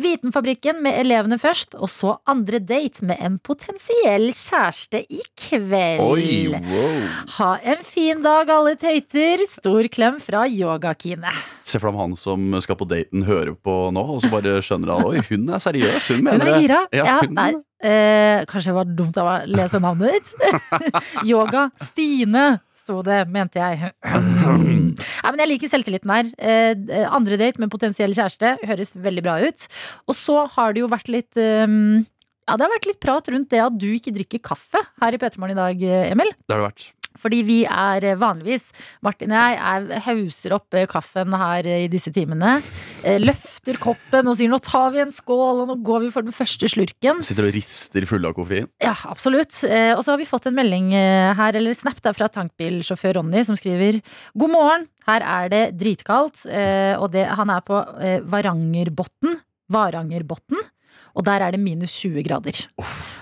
Speaker 3: Vitenfabrikken med elevene først, og så andre date med en potensiell kjæreste i kveld.
Speaker 4: Oi, wow.
Speaker 3: Ha en fin dag, alle tøyter. Stor klem fra Yoga-Kine.
Speaker 4: Se for deg om han som skal på daten, hører på nå, og så bare skjønner han Oi, hun er seriøs, hun
Speaker 3: Hun
Speaker 4: mener
Speaker 3: er
Speaker 4: det.
Speaker 3: gira. Ja,
Speaker 4: Ja, hun-
Speaker 3: nei. Eh, kanskje det var dumt av meg å lese navnet ditt. Yoga Stine sto det, mente jeg. Nei, men jeg liker selvtilliten her. Eh, d- andre date med potensiell kjæreste høres veldig bra ut. Og så har det jo vært litt ehm, ja, Det har vært litt prat rundt det at du ikke drikker kaffe her i P3morgen i dag, eh, Emil.
Speaker 4: Det har det vært.
Speaker 3: Fordi vi er eh, vanligvis, Martin og jeg, er, hauser opp eh, kaffen her eh, i disse timene. eh, Løfter koppen og sier 'nå tar vi en skål', og 'nå går vi for den første slurken'.
Speaker 4: Sitter og rister fulle av koffein.
Speaker 3: Ja, absolutt. Eh, Og så har vi fått en melding eh, her, eller snap da, fra tankbilsjåfør Ronny, som skriver God morgen, her er det dritkaldt. eh, Og det, han er på eh, Varangerbotn. Varangerbotn. Og der er det minus 20 grader.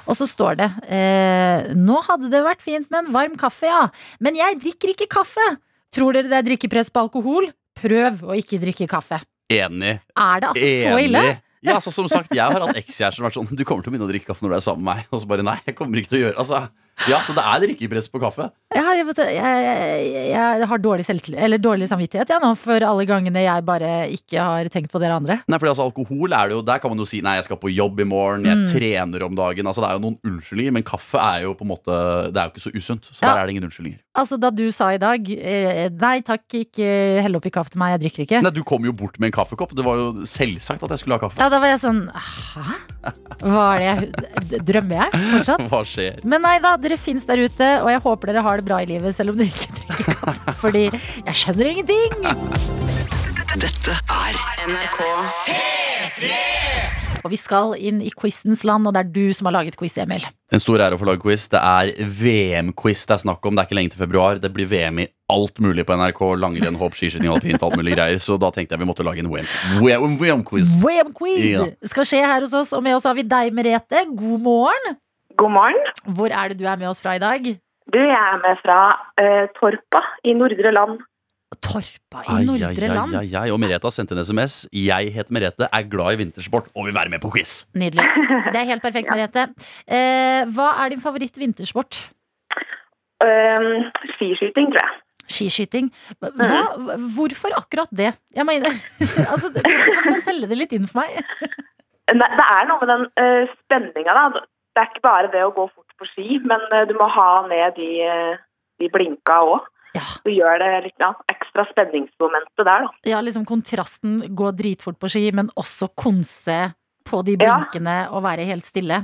Speaker 3: Og så står det eh, Nå hadde det vært fint med en varm kaffe, ja. Men jeg drikker ikke kaffe. Tror dere det er drikkepress på alkohol? Prøv å ikke drikke kaffe.
Speaker 4: Enig.
Speaker 3: Er det altså så ille?
Speaker 4: Enig. Ja, altså som sagt, Jeg har hatt ekskjærester som har vært sånn Du kommer til å begynne å drikke kaffe når du er sammen med meg. Og så bare nei, jeg kommer ikke til å gjøre altså, Ja, Så det er drikkepress på kaffe.
Speaker 3: Ja, jeg, vet, det. jeg, jeg, jeg har dårlig, selvtillit- eller dårlig samvittighet jeg, nå for alle gangene jeg bare ikke har tenkt på dere andre.
Speaker 4: Nei, fordi altså Alkohol er det jo Der kan man jo si nei, jeg skal på jobb i morgen,
Speaker 3: Mm.
Speaker 4: jeg trener om dagen. Altså Det er jo noen unnskyldninger, men kaffe er jo på en måte Det er jo ikke så usunt. Så
Speaker 3: Ja.
Speaker 4: der er det ingen unnskyldninger.
Speaker 3: Altså Da du sa i dag eh, nei takk, ikke hell oppi kaffe til meg, jeg drikker ikke.
Speaker 4: Nei, Du kom jo bort med en kaffekopp. Det var jo selvsagt at jeg skulle ha kaffe.
Speaker 3: Ja, Da var jeg sånn hæ? Hva er det jeg d- Drømmer jeg fortsatt?
Speaker 4: Hva skjer?
Speaker 3: Men nei da, dere fins der ute, og jeg håper dere har det bra i livet selv om dere ikke drikker kaffe. Fordi jeg skjønner ingenting!
Speaker 2: NRK
Speaker 3: Og vi skal inn i quizens land, og det er du som har laget quiz, Emil.
Speaker 4: En stor ære å få lage quiz. Det er VM-quiz det er snakk om. Det er ikke lenge til februar. Det blir VM i alt mulig på NRK. Langrenn, hopp, skiskyting, alpint, alt mulig greier. Så da tenkte jeg vi måtte lage en VM-quiz.
Speaker 3: VM-quiz
Speaker 4: Ja.
Speaker 3: skal skje her hos oss, og med oss har vi deg, Merete. God morgen.
Speaker 6: God morgen.
Speaker 3: Hvor er det du er med oss fra i dag?
Speaker 6: Du, jeg er med fra eh, Torpa i Nordre Land.
Speaker 3: Torpa i Nordre Land.
Speaker 4: ai, ai. Og Merete har sendt en SMS. Jeg heter Merete, er glad i vintersport og vil være med på quiz.
Speaker 3: Nydelig. Det er helt perfekt, Merete. Eh, hva er din favoritt-vintersport?
Speaker 6: Ehm, skiskyting, tror jeg.
Speaker 3: Skiskyting. Hva, hva- hvorfor akkurat det? Jeg mener, altså, Kan du bare selge det litt inn for meg?
Speaker 6: Det, det er noe med den uh, spenninga, da. Det er ikke bare det å gå fort på ski, men eh, du må ha ned de, eh, de blinka òg.
Speaker 3: Ja,
Speaker 6: Du gjør det litt ja, ekstra spenningsmomentet der, da.
Speaker 3: ja liksom kontrasten gå dritfort på ski, men også konse på de
Speaker 6: Ja.
Speaker 3: blinkene og være helt stille.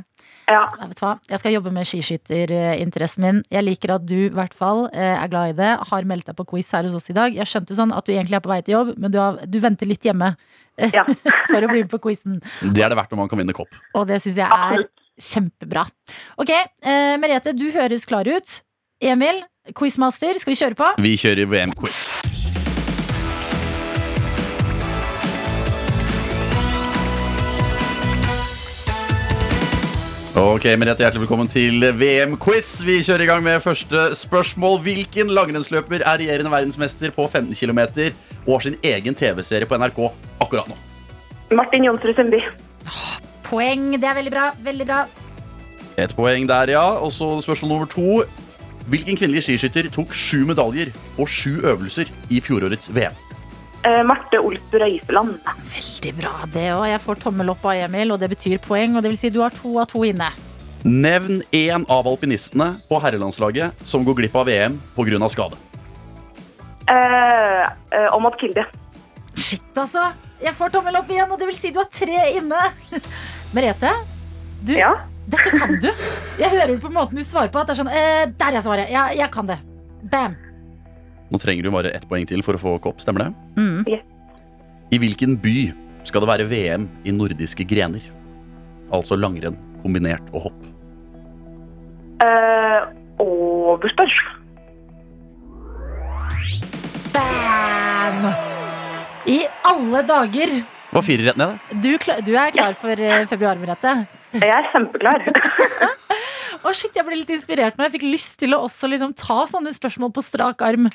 Speaker 6: Ja.
Speaker 3: Nei, vet du hva? Jeg skal jobbe med skiskytterinteressen min. Jeg liker at du i hvert fall eh, er glad i det. Har meldt deg på quiz her hos oss i dag. Jeg skjønte sånn at du egentlig er på vei til jobb, men du, har, du venter litt hjemme
Speaker 6: ja.
Speaker 3: for å bli med på quizen.
Speaker 4: Det er det verdt når man kan vinne kopp.
Speaker 3: Og det syns jeg er
Speaker 6: Absolutt.
Speaker 3: kjempebra. Ok, eh, Merete, du høres klar ut. Emil, quizmaster, skal vi kjøre på?
Speaker 4: Vi kjører VM-quiz. Ok, Merete, Hjertelig velkommen til VM-quiz. Vi kjører i gang med første spørsmål. Hvilken langrennsløper er regjerende verdensmester på 15 km og sin egen TV-serie på NRK akkurat nå?
Speaker 6: Martin Jonsrud Sundby.
Speaker 3: Poeng. Det er veldig bra. Veldig bra.
Speaker 4: Et poeng der, ja. Og så spørsmål nummer to. Hvilken kvinnelig skiskytter tok sju medaljer og sju øvelser i fjorårets VM?
Speaker 6: Eh, Marte Olsrud Røiseland.
Speaker 3: Veldig bra, det òg. Jeg får tommel opp av Emil, og det betyr poeng. Og det vil si du har to av to inne.
Speaker 4: Nevn én av alpinistene på herrelandslaget som går glipp av VM pga. skade.
Speaker 6: Eh, eh, Omad Kilde.
Speaker 3: Shit, altså. Jeg får tommel opp igjen, og det vil si du har tre inne. Merete, du,
Speaker 6: Ja.
Speaker 3: dette kan du. Jeg hører på måten du svarer på at det er sånn eh, Der er svaret. Jeg, jeg kan det. Bam.
Speaker 4: Nå trenger du bare ett poeng til for å få kopp, stemmer det?
Speaker 3: Mm.
Speaker 6: Yes.
Speaker 4: I hvilken by skal det være VM i nordiske grener? Altså langrenn, kombinert og hopp.
Speaker 6: Eh, Overstad.
Speaker 3: Bam. I alle dager.
Speaker 4: Det var fire rett ned, det.
Speaker 3: Du, kla- du er klar for eh, februar, Merete?
Speaker 6: Jeg er kjempeklar.
Speaker 3: Å shit, Jeg ble litt inspirert nå. Jeg fikk lyst til å også liksom ta sånne spørsmål på strak arm.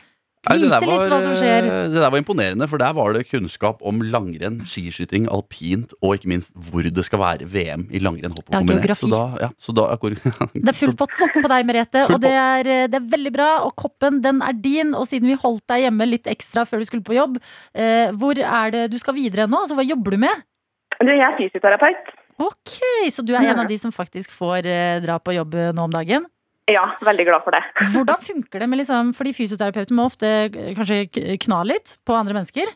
Speaker 4: Nei,
Speaker 3: Vite litt hva som skjer.
Speaker 4: eh, det der var imponerende, for der var det kunnskap om langrenn, skiskyting, alpint og ikke minst hvor det skal være VM i langrenn, hopp og
Speaker 3: Ja,
Speaker 4: kombinert. Så
Speaker 3: geografi.
Speaker 4: da, ja, så da akkur-
Speaker 3: Det er full pott på deg, Merete.
Speaker 4: Full
Speaker 3: Og det er, eh, det er veldig bra. Og koppen, den er din. Og siden vi holdt deg hjemme litt ekstra før du skulle på jobb, eh, hvor er det du skal videre nå? Altså, hva jobber du med?
Speaker 6: Du, jeg er fysioterapeut.
Speaker 3: Ok, Så du er en av de som faktisk får eh, dra på jobb eh, nå om dagen?
Speaker 6: Ja, veldig glad for det.
Speaker 3: Hvordan funker det med liksom Fordi fysioterapeuten må ofte eh, kanskje k- kna litt på andre mennesker?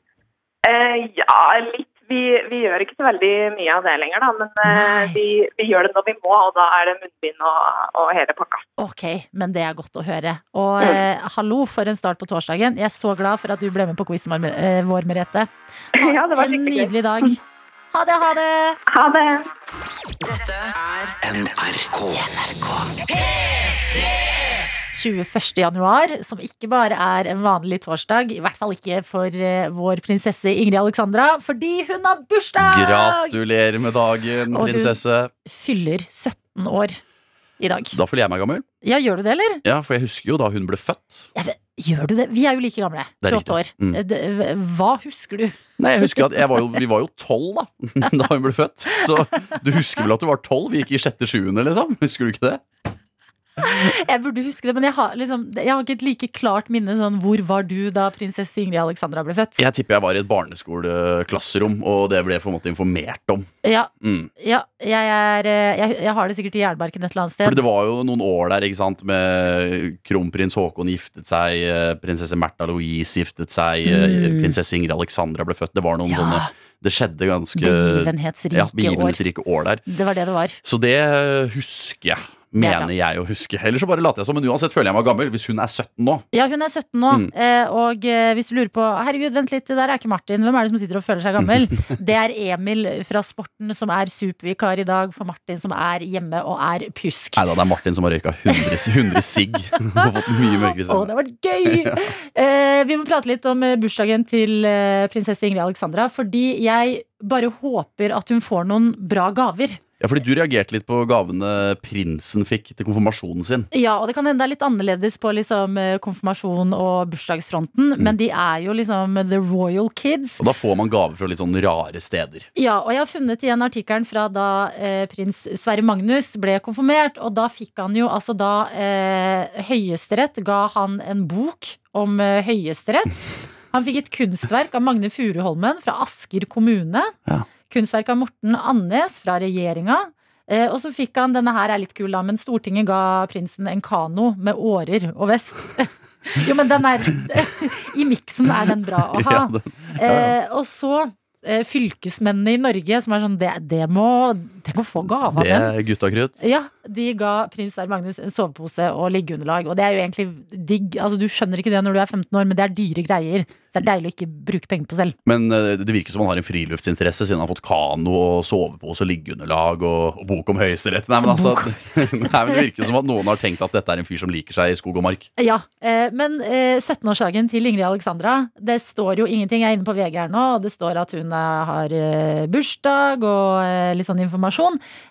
Speaker 6: Eh, ja, litt. Vi, vi gjør ikke så veldig mye av det lenger, da. Men eh,
Speaker 3: Nei.
Speaker 6: vi, vi gjør det når vi må, og da er det munnbind og, og hele pakka.
Speaker 3: Ok, men det er godt å høre.
Speaker 6: Mm.
Speaker 3: Og eh, hallo for en start på torsdagen. Jeg er så glad for at du ble med på quizen vår, eh, vår, Merete. Ha
Speaker 6: Ja, det var
Speaker 3: en
Speaker 6: skikkelig gøy.
Speaker 3: nydelig dag. Ha det, ha det!
Speaker 6: Ha det!
Speaker 2: Dette er
Speaker 1: NRK.
Speaker 3: 21. januar, som ikke bare er en vanlig torsdag, i hvert fall ikke for eh, vår prinsesse Ingrid Alexandra, fordi hun har bursdag!
Speaker 4: Gratulerer med dagen,
Speaker 3: Og hun-
Speaker 4: prinsesse.
Speaker 3: Fyller 17 år i dag.
Speaker 4: Da føler jeg meg gammel.
Speaker 3: Ja, gjør du det, eller?
Speaker 4: Ja, for jeg husker jo da hun ble født.
Speaker 3: Jeg vet- gjør du det? Vi er jo like gamle.
Speaker 4: Det er
Speaker 3: 28 år.
Speaker 4: riktig. Mm.
Speaker 3: Eh, det- Hva husker du?
Speaker 4: Nei, jeg husker at jeg var jo, Vi var jo tolv da da hun ble født. Så du husker vel at du var tolv? Vi gikk i sjette-sjuende, liksom. Husker du ikke det?
Speaker 3: Jeg burde huske det, men jeg har, liksom, jeg har ikke et like klart minne sånn hvor var du da prinsesse Ingrid Alexandra ble født?
Speaker 4: Jeg tipper jeg var i et barneskoleklasserom, og det ble jeg på en måte informert om.
Speaker 3: Ja,
Speaker 4: Mm.
Speaker 3: ja jeg, er, eh, jeg, jeg har det sikkert i jernbarken et eller annet sted.
Speaker 4: Fordi det var jo noen år der ikke sant, med kronprins Haakon giftet seg, eh, prinsesse Märtha Louise giftet seg, eh,
Speaker 3: Mm.
Speaker 4: prinsesse Ingrid Alexandra ble født. Det var noen
Speaker 3: Ja.
Speaker 4: sånne Det skjedde ganske
Speaker 3: Begivenhetsrike
Speaker 4: ja,
Speaker 3: år.
Speaker 4: begivenhetsrike år der.
Speaker 3: Det var det det var.
Speaker 4: Så det husker jeg.
Speaker 3: er bra.
Speaker 4: Mener jeg å huske. Ellers så bare later jeg som, men uansett føler jeg meg gammel. Hvis hun er 17 nå,
Speaker 3: Ja, hun er 17 nå,
Speaker 4: Mm.
Speaker 3: eh, og eh, hvis du lurer på Herregud, vent litt, det der er ikke Martin. Hvem er det som sitter og føler seg gammel? Det er Emil fra Sporten som er supervikar i dag for Martin, som er hjemme og er pjusk.
Speaker 4: Nei da, det er Martin som har røyka 100, s- 100 sigg. Og fått mye mørkere
Speaker 3: Å, det
Speaker 4: stemme.
Speaker 3: har vært gøy! Eh, vi må prate litt om eh, bursdagen til eh, prinsesse Ingrid Alexandra. Fordi jeg bare håper at hun får noen bra gaver.
Speaker 4: Ja, fordi du reagerte litt på gavene prinsen fikk til konfirmasjonen sin.
Speaker 3: Ja, og det kan hende det er litt annerledes på liksom, eh, konfirmasjon og bursdagsfronten, men de er jo liksom the royal kids.
Speaker 4: Og da får man gaver fra litt sånn rare steder.
Speaker 3: Ja, og jeg har funnet igjen artikkelen fra da eh, prins Sverre Magnus ble konfirmert. Og da fikk han jo altså da eh, Høyesterett ga han en bok om eh, Høyesterett. Han fikk et kunstverk av Magne Furuholmen fra Asker kommune.
Speaker 4: Ja.
Speaker 3: Kunstverk av Morten Annes fra regjeringa. Eh, og så fikk han denne her er litt kul, da, men Stortinget ga prinsen en kano med årer og vest. jo, men den er I miksen er den bra å ha.
Speaker 4: Ja, det, ja.
Speaker 3: Eh, og så eh, fylkesmennene i Norge som er sånn Det, det må Tenk å få gave av
Speaker 4: det
Speaker 3: dem.
Speaker 4: er guttakrutt.
Speaker 3: Ja, de ga prins Dag Magnus en sovepose og liggeunderlag. Og det er jo egentlig digg. Altså, du skjønner ikke det når du er 15 år, men det er dyre greier. Så det er deilig å ikke bruke penger på selv.
Speaker 4: Men eh, det virker som han har en friluftsinteresse, siden han har fått kano og sovepose og liggeunderlag og, og bok om Høyesterett. Nei, men altså, nei, men det virker som at noen har tenkt at dette er en fyr som liker seg i skog og mark.
Speaker 3: Ja, eh, men eh, 17-årsdagen til Ingrid Alexandra Det står jo ingenting, jeg er inne på VG her nå Og det står at hun eh, har eh, bursdag og eh, litt sånn informasjon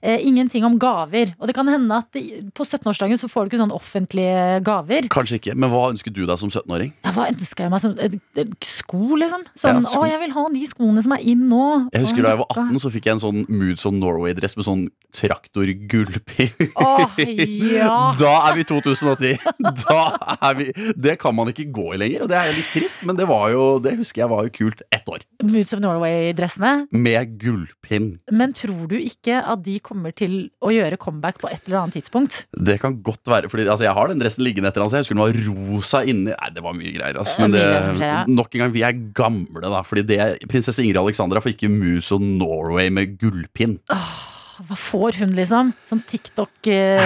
Speaker 3: eh, Ingenting om gaver Og det kan hende at i- på 17-årsdagen så får du ikke sånn offentlige gaver
Speaker 4: Kanskje ikke, men hva ønsker du deg som 17-åring?
Speaker 3: ja, Hva ønsker jeg meg som eh, eh, sko liksom? Sånn,
Speaker 4: Ja, sko.
Speaker 3: å jeg vil ha de skoene som er inn nå
Speaker 4: Jeg husker
Speaker 3: Å,
Speaker 4: Da jeg var
Speaker 3: jakka.
Speaker 4: 18, så fikk jeg en sånn Moods of Norway-dress med sånn traktorgullpinn.
Speaker 3: Å ja
Speaker 4: Da er vi 2010! Da er vi, det kan man ikke gå i lenger, og det er litt trist, men det, var jo, det husker jeg var jo kult ett år.
Speaker 3: Moods of Norway-dressene
Speaker 4: Med gullpinn.
Speaker 3: Men tror du ikke at de kommer til å gjøre comeback på et eller annet tidspunkt?
Speaker 4: Det kan godt være, fordi altså, jeg har den dressen liggende etter han, så jeg husker den var rosa inni Nei, det var mye greier, ass. Men
Speaker 3: Det
Speaker 4: det,
Speaker 3: er mye greier som skjer, ja.
Speaker 4: nok en gang, vi er gamle, da. Fordi det, prinsesse Ingrid Alexandra får ikke Moose of Norway med gullpinn.
Speaker 3: Hva får hun, liksom? Sånn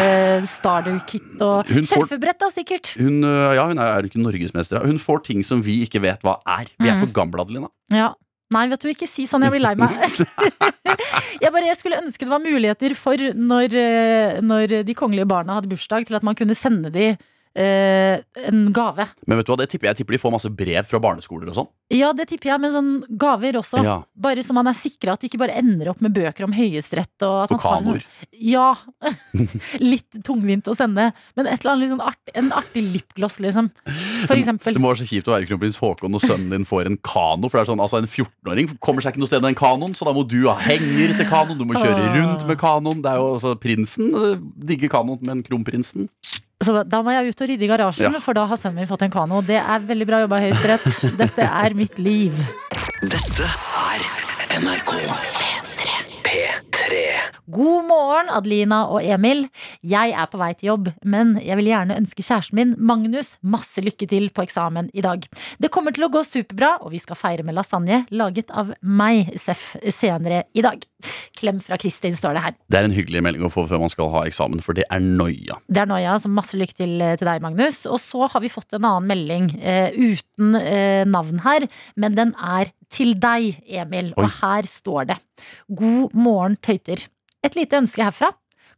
Speaker 3: TikTok-starter-kit og
Speaker 4: Hun får-
Speaker 3: Surfebrett, da, sikkert.
Speaker 4: Hun, øh, ja, hun er, er jo ikke norgesmester. da. Hun får ting som vi ikke vet hva er. Vi er for gamle, Adelina.
Speaker 3: Ja. Nei, vet du, ikke si sånn. Jeg blir lei meg. jeg bare jeg skulle ønske det var muligheter for, når, eh, når de kongelige barna hadde bursdag, til at man kunne sende de eh, en gave.
Speaker 4: Men vet du hva, det tipper jeg. jeg tipper de får masse brev fra barneskoler og sånn.
Speaker 3: Ja, det tipper jeg, men sånn gaver også.
Speaker 4: Ja.
Speaker 3: Bare så man er sikra at det ikke bare ender opp med bøker om høyesterett. Og at
Speaker 4: Og
Speaker 3: man tar en sånn-
Speaker 4: kanoer.
Speaker 3: Ja. Litt tungvint å sende, men et eller annet litt sånn art, en artig lipgloss, liksom. For
Speaker 4: Det
Speaker 3: eksempel.
Speaker 4: må være så kjipt å være kronprins Haakon og sønnen din får en kano. For det er sånn, altså En 14-åring kommer seg ikke noe sted med den kanoen, så da må du ha henger til kanoen. Du må kjøre rundt med kanoen. Det er jo altså Prinsen eh, digger kanoen, men kronprinsen
Speaker 3: Så da må jeg ut og rydde i garasjen,
Speaker 4: Ja.
Speaker 3: for da har sønnen min fått en kano. Det er veldig bra jobba, Høyesterett. Dette er mitt liv. God morgen, Adelina og Emil. Jeg er på vei til jobb, men jeg vil gjerne ønske kjæresten min, Magnus, masse lykke til på eksamen i dag. Det kommer til å gå superbra, og vi skal feire med lasagne laget av meg, Seff, senere i dag. Klem fra Kristin, står det her.
Speaker 4: Det er en hyggelig melding å få før man skal ha eksamen, for det er noia.
Speaker 3: Det er noia, så masse lykke til eh, til deg, Magnus. Og så har vi fått en annen melding eh, uten eh, navn her, men den er til deg, Emil.
Speaker 4: Oi.
Speaker 3: Og her står det. God morgen, tøyter. Et lite ønske herfra.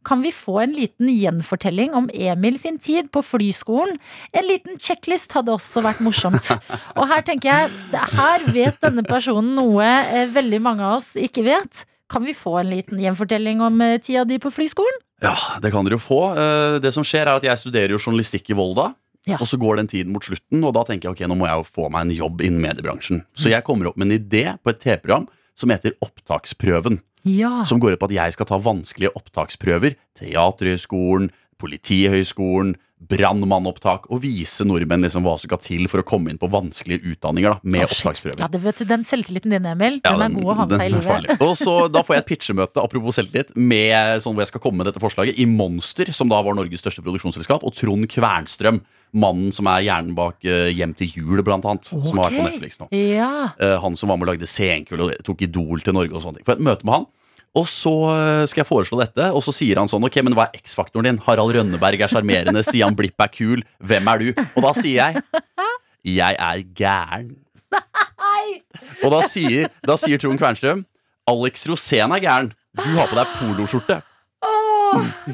Speaker 3: Kan vi få en liten gjenfortelling om Emil sin tid på flyskolen? En liten checklist hadde også vært morsomt. Og her tenker jeg, det- her vet denne personen noe eh, veldig mange av oss ikke vet. Kan vi få en liten gjenfortelling om eh, tida di på flyskolen?
Speaker 4: Ja, det kan dere jo få. Eh, Det som skjer, er at jeg studerer jo journalistikk i Volda.
Speaker 3: Ja.
Speaker 4: Og så går den tiden mot slutten, og da tenker jeg ok, nå må jeg jo få meg en jobb innen mediebransjen. Så jeg kommer opp med en idé på et TV-program som heter Opptaksprøven.
Speaker 3: Ja.
Speaker 4: som går ut på at jeg skal ta vanskelige opptaksprøver, Teaterhøgskolen, Politihøgskolen, brannmannopptak, og vise nordmenn liksom hva som skal til for å komme inn på vanskelige utdanninger da, med
Speaker 3: Å, shit.
Speaker 4: opptaksprøver.
Speaker 3: Ja, det, vet du, den selvtilliten din, Emil,
Speaker 4: Ja,
Speaker 3: den, er god å ha med
Speaker 4: den
Speaker 3: seg
Speaker 4: er
Speaker 3: i livet.
Speaker 4: farlig. Og så Da får jeg et pitchemøte apropos selvtillit, med, sånn, hvor jeg skal komme med dette forslaget i Monster, som da var Norges største produksjonsselskap, og Trond Kvernstrøm, mannen som er hjernen bak eh, Hjem til jul, blant annet, som har vært på
Speaker 3: Ok.
Speaker 4: Netflix nå.
Speaker 3: Ja.
Speaker 4: Eh, han som var med og lagde Senkveld og tok Idol til Norge og sånne ting. Får jeg et møte med han. Og så eh, skal jeg foreslå dette, og så sier han sånn Ok, men hva er X-faktoren din? Harald Rønneberg er sjarmerende, Stian Blipp er kul, hvem er du? Og da sier jeg Jeg er gæren. Og da sier, da sier Trond Kvernstrøm Alex Rosén er gæren. Du har på deg poloskjorte.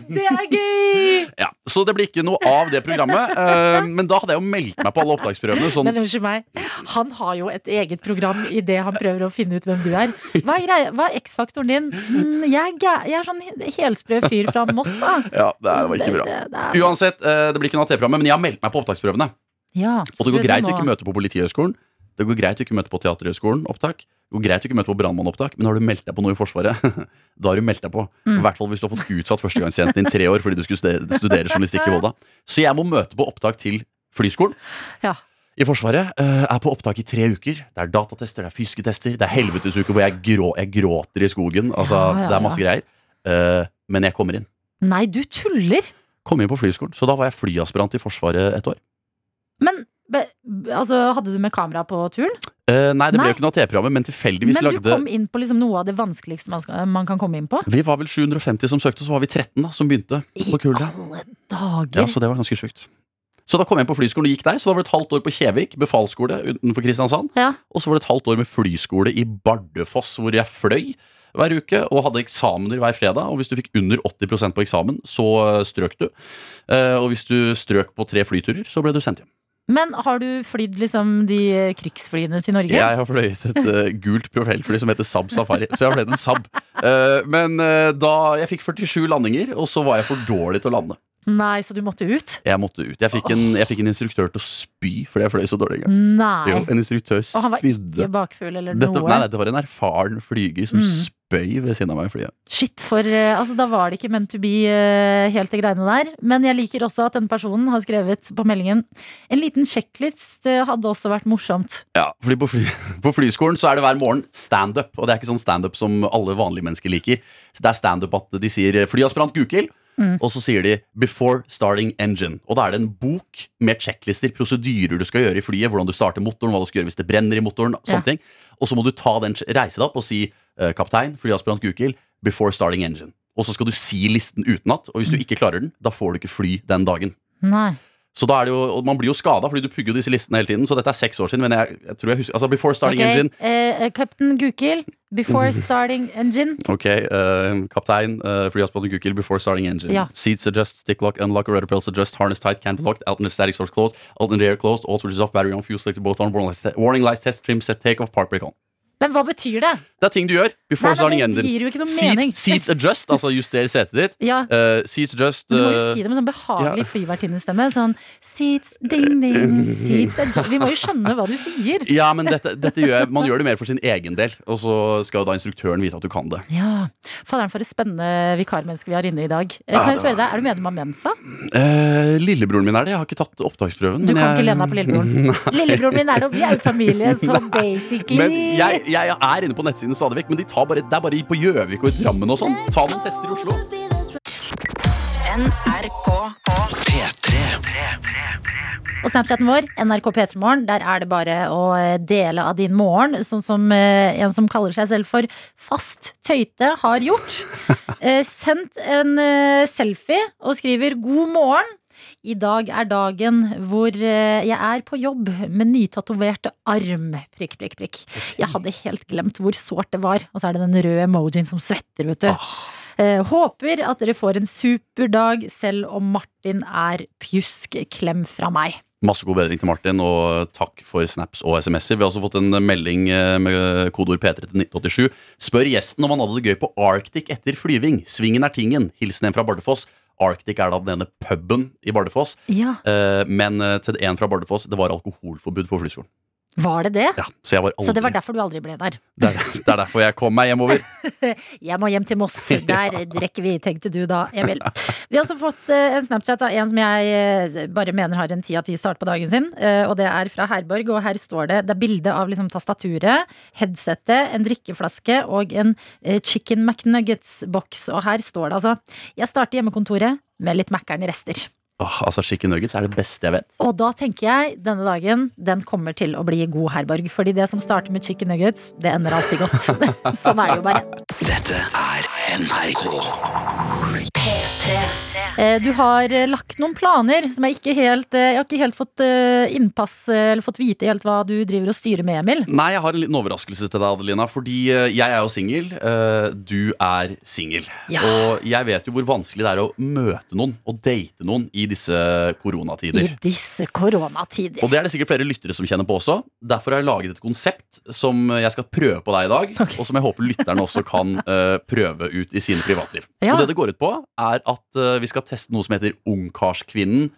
Speaker 3: Det er gøy!
Speaker 4: Ja, så det blir ikke noe av det programmet. eh, men da hadde jeg jo meldt meg på alle opptaksprøvene. Sånn
Speaker 3: Men unnskyld meg, han har jo et eget program i det han prøver å finne ut hvem du er. Hva er, greia- hva er X-faktoren din? Mm, jeg, er gæ- jeg er sånn helsprø fyr fra Moss, da.
Speaker 4: Ja, det her var ikke bra.
Speaker 3: Det- det er-
Speaker 4: Uansett, eh, det blir ikke noe av TV-programmet, men jeg har meldt meg på opptaksprøvene.
Speaker 3: Ja,
Speaker 4: Og det
Speaker 3: så
Speaker 4: går
Speaker 3: du
Speaker 4: greit å
Speaker 3: må-
Speaker 4: ikke møte på Politihøgskolen. Det går greit å ikke møte på Teaterhøgskolen opptak. Det går greit å ikke møte på Brannmannopptak, men har du meldt deg på noe i Forsvaret, da har du meldt deg på.
Speaker 3: Mm.
Speaker 4: I hvert fall hvis du har fått utsatt førstegangstjenesten din tre år fordi du skulle studere, studere journalistikk i Volda. Så jeg må møte på opptak til Flyskolen.
Speaker 3: Ja.
Speaker 4: I Forsvaret eh, er på opptak i tre uker. Det er datatester, det er fisketester, det er helvetesuker hvor jeg, grå, jeg gråter i skogen. Altså,
Speaker 3: Ja, ja,
Speaker 4: det er masse greier. Eh, men jeg kommer inn.
Speaker 3: Nei, du tuller!
Speaker 4: Kom inn på flyskolen. Så da var jeg flyaspirant i Forsvaret et år.
Speaker 3: Men be, altså, hadde du med kamera på turen?
Speaker 4: Eh, nei, det ble
Speaker 3: Nei.
Speaker 4: jo ikke noe av TV-programmet, men tilfeldigvis
Speaker 3: Men du
Speaker 4: lagde
Speaker 3: kom inn på liksom noe av det vanskeligste man, skal, man kan komme inn på.
Speaker 4: Vi var vel 750 som søkte, og så var vi 13 da, som begynte på kullet.
Speaker 3: Alle dager!
Speaker 4: Ja, så det var ganske sjukt. Så da kom jeg inn på flyskolen og gikk der, så da var det et halvt år på Kjevik, befalsskole utenfor Kristiansand.
Speaker 3: Ja.
Speaker 4: Og så var det et halvt år med flyskole i Bardufoss, hvor jeg fløy hver uke og hadde eksamener hver fredag. Og hvis du fikk under 80 på eksamen, så eh, strøk du. Eh, Og hvis du strøk på tre flyturer, så ble du sendt hjem.
Speaker 3: Men har du flydd liksom de eh, krigsflyene til Norge?
Speaker 4: Jeg har fløyet et eh, gult propellfly som heter Saab Safari, så jeg har fløyet en Saab. Eh, men eh, da Jeg fikk 47 landinger, og så var jeg for dårlig til å lande.
Speaker 3: Nei, så du måtte ut?
Speaker 4: Jeg måtte ut. Jeg fikk en, jeg fikk en instruktør til å spy fordi jeg fløy så dårlig. en gang.
Speaker 3: Nei.
Speaker 4: Jo, en instruktør
Speaker 3: Og han var
Speaker 4: spydde.
Speaker 3: ikke bakfull eller
Speaker 4: Dette,
Speaker 3: noe?
Speaker 4: nei, nei, det var en erfaren flyger som
Speaker 3: Mm.
Speaker 4: spøy ved siden av meg i flyet.
Speaker 3: Shit, for eh, altså, da var det ikke meant to be eh, helt de greiene der. Men jeg liker også at denne personen har skrevet på meldingen En liten sjekklist eh, hadde også vært morsomt.
Speaker 4: Ja, fordi på, fly, på flyskolen så er det hver morgen standup. Og det er ikke sånn standup som alle vanlige mennesker liker. Så det er standup at de sier eh, 'flyaspirant Gukild', og så sier de 'before starting engine'. Og da er det en bok med checklister, prosedyrer du skal gjøre i flyet, hvordan du starter motoren, hva du skal gjøre hvis det brenner i motoren,
Speaker 3: Ja.
Speaker 4: sånne ting. Og så må du ta den, reise deg opp og si eh, 'kaptein, flyaspirant Gukild, before starting engine'. Og så skal du si listen utenat, og hvis du ikke klarer den, da får du ikke fly den dagen.
Speaker 3: Nei.
Speaker 4: Så da er det jo, og Man blir jo skada, fordi du pugger jo disse listene hele tiden. Så dette er seks år siden. Men jeg, jeg tror jeg husker Altså Before Starting
Speaker 3: Ok,
Speaker 4: Engine.
Speaker 3: eh, Captain Gukild, before starting engine.
Speaker 4: Ok, eh, Kaptein, uh, flyaspirant Gukild, Before Starting Engine.
Speaker 3: Ja.
Speaker 4: Seats adjust, stick lock, unlock, rudder pedals adjust, harness tight, can be locked, out in the static source closed, out in the air closed, all switches off, battery on, fuel selected, both on, warning lights, te- warning lights test, trim set, take off, park break on.
Speaker 3: Men hva betyr det?
Speaker 4: Det er ting du gjør. Before
Speaker 3: Nei, nei,
Speaker 4: Starting
Speaker 3: det
Speaker 4: Engine.
Speaker 3: gir jo ikke noe
Speaker 4: Seat-
Speaker 3: mening.
Speaker 4: Seats adjust, altså juster setet ditt.
Speaker 3: Ja,
Speaker 4: Eh, seats adjust
Speaker 3: men Du må jo
Speaker 4: eh,
Speaker 3: si det med sånn behagelig
Speaker 4: ja.
Speaker 3: flyvertinnestemme. Sånn seats, ding, ding, seats adju-" Vi må jo skjønne hva du sier.
Speaker 4: Ja, men dette, dette gjør jeg, man gjør det mer for sin egen del. Og så skal jo da instruktøren vite at du kan det.
Speaker 3: Ja. Faderen, for et spennende vikarmenneske vi har inne i dag. Eh,
Speaker 4: Ja,
Speaker 3: Kan
Speaker 4: det var-
Speaker 3: jeg spørre deg, Er du medlem av Mensa?
Speaker 4: Eh, lillebroren min er det. Jeg har ikke tatt opptaksprøven.
Speaker 3: Du
Speaker 4: men
Speaker 3: kan ikke
Speaker 4: jeg-
Speaker 3: lene deg på lillebroren. Lillebroren min er det, og vi er jo familie, så basically
Speaker 4: Men jeg, jeg er inne på nettsiden stadig vekk, men de tar bare, det er bare på Gjøvik og i Drammen og sånn. Ta noen tester i Oslo.
Speaker 2: NRK
Speaker 3: Og Snapchaten vår, NRK P3morgen, der er det bare å eh, dele av din morgen, sånn som eh, en som kaller seg selv for Fast Tøyte har gjort. Eh, Sendt en eh, selfie og skriver 'God morgen'. I dag er dagen hvor eh, jeg er på jobb med nytatovert arm. Prikk, prikk, prikk. Jeg hadde helt glemt hvor sårt det var. Og så er det den røde emojien som svetter, vet du.
Speaker 4: Ah.
Speaker 3: Eh, håper at dere får en super dag, selv om Martin er pjusk. Klem fra meg.
Speaker 4: Masse god bedring til Martin, og takk for snaps og SMS-er. Vi har også fått en melding eh, med kodeord P3 til 1987. Spør gjesten om han hadde det gøy på Arctic etter flyving. Svingen er tingen. Hilsen en fra Bardufoss. Arctic er da den ene puben i Bardufoss,
Speaker 3: Ja.
Speaker 4: eh, men eh, til en fra Bardufoss, det var alkoholforbud på flyskolen.
Speaker 3: Var det det?
Speaker 4: Ja, så jeg var aldri
Speaker 3: Så det var derfor du aldri ble der.
Speaker 4: Det er, det er derfor jeg kom meg hjemover.
Speaker 3: Jeg må hjem til Moss. Der drikker vi, tenkte du da, Emil. Vi har også fått eh, en Snapchat av en som jeg eh, bare mener har en ti av ti start på dagen sin. eh, Og det er fra Herborg, og her står det Det er bilde av liksom tastaturet, headsetet, en drikkeflaske og en eh, Chicken McNuggets-boks. Og her står det altså Jeg starter hjemmekontoret med litt Mækkern i rester.
Speaker 4: Åh, altså Chicken nuggets er det beste jeg vet.
Speaker 3: Og da tenker jeg denne dagen den kommer til å bli god, Herborg. Fordi det som starter med chicken nuggets, det ender alltid godt. sånn er det jo bare. Eh, Du har eh, lagt noen planer som jeg ikke helt eh, Jeg har ikke helt fått eh, innpass eh, eller fått vite helt hva du driver og styrer med, Emil.
Speaker 4: Nei, jeg har en liten overraskelse til deg, Adelina. Fordi eh, jeg er jo singel. eh, Du er singel.
Speaker 3: Ja.
Speaker 4: Og jeg vet jo hvor vanskelig det er å møte noen og date noen i disse
Speaker 3: I
Speaker 4: koronatider.
Speaker 3: disse koronatider.
Speaker 4: Og det er det sikkert flere lyttere som kjenner på også. Derfor har jeg laget et konsept som jeg skal prøve på deg i dag.
Speaker 3: Ok.
Speaker 4: Og som jeg håper lytterne også kan eh, prøve ut i sine privatliv.
Speaker 3: Ja.
Speaker 4: Og det det går ut på, er at eh, vi skal teste noe som heter Ungkarskvinnen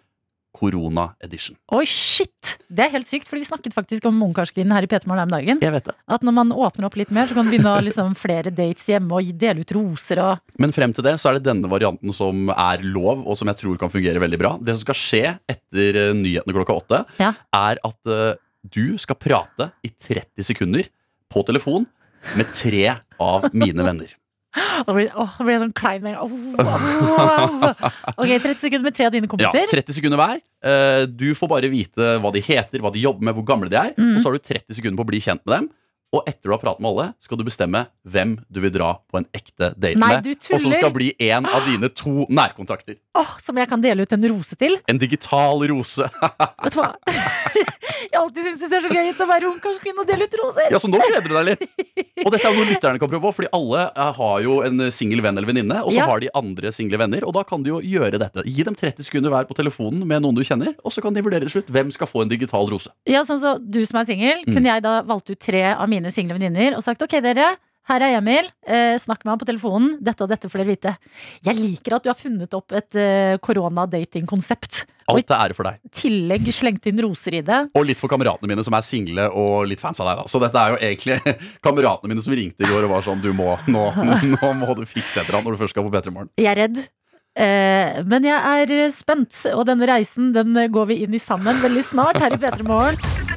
Speaker 4: korona edition.
Speaker 3: Oi, shit! Det er helt sykt, fordi vi snakket faktisk om Ungkarskvinnen her i Petermorgen her om dagen.
Speaker 4: Jeg vet det.
Speaker 3: At når man åpner opp litt mer, så kan man begynne å ha liksom, flere dates hjemme og gi- dele ut roser og
Speaker 4: Men frem til det så er det denne varianten som er lov, og som jeg tror kan fungere veldig bra. Det som skal skje etter eh, nyhetene klokka åtte,
Speaker 3: Ja.
Speaker 4: er at eh, du skal prate i 30 sekunder på telefon med tre av mine venner.
Speaker 3: Og da blir åh, da blir jeg sånn klein med en gang. Åh, åh, åh. Ok, 30 sekunder med tre av dine
Speaker 4: Ja,
Speaker 3: kompiser.
Speaker 4: 30 sekunder hver. Eh, Du får bare vite hva de heter, hva de jobber med, hvor gamle de er.
Speaker 3: Mm.
Speaker 4: Og så har du 30 sekunder på å bli kjent med dem. Og etter du har pratet med alle, skal du bestemme hvem du vil dra på en ekte date
Speaker 3: Nei,
Speaker 4: med.
Speaker 3: du
Speaker 4: Og som
Speaker 3: tuller.
Speaker 4: skal bli en av dine to nærkontakter.
Speaker 3: Åh, som jeg kan dele ut en rose til.
Speaker 4: En digital rose.
Speaker 3: Vet du hva? Jeg har alltid syntes det er så gøy å være ungkarskvinne og dele ut roser.
Speaker 4: Ja, Så nå gleder du deg litt. Og dette er jo noe lytterne kan prøve òg, fordi alle eh, har jo en singel venn eller venninne. Og så
Speaker 3: Ja.
Speaker 4: har de andre single venner, og da kan de jo gjøre dette. Gi dem 30 sekunder hver på telefonen med noen du kjenner, og så kan de vurdere til slutt hvem skal få en digital rose.
Speaker 3: Ja, sånn så Du som er singel,
Speaker 4: Mm.
Speaker 3: kunne jeg da valgt ut tre av mine single venninner og sagt ok, dere, her er Emil, eh, snakk med ham på telefonen, dette og dette får dere vite. Jeg liker at du har funnet opp et eh, koronadatingkonsept. Og i
Speaker 4: Alt er ære for deg.
Speaker 3: tillegg slengt inn roser i det.
Speaker 4: Og litt for kameratene mine som er single og litt fans av deg. da Så dette er jo egentlig kameratene mine som ringte i går og var sånn Du må, nå, nå må du fikse et eller annet når du først skal på P3 Morgen.
Speaker 3: Jeg er redd. Eh, men jeg er eh, spent, og denne reisen den eh, går vi inn i sammen veldig snart her i P3 Morgen.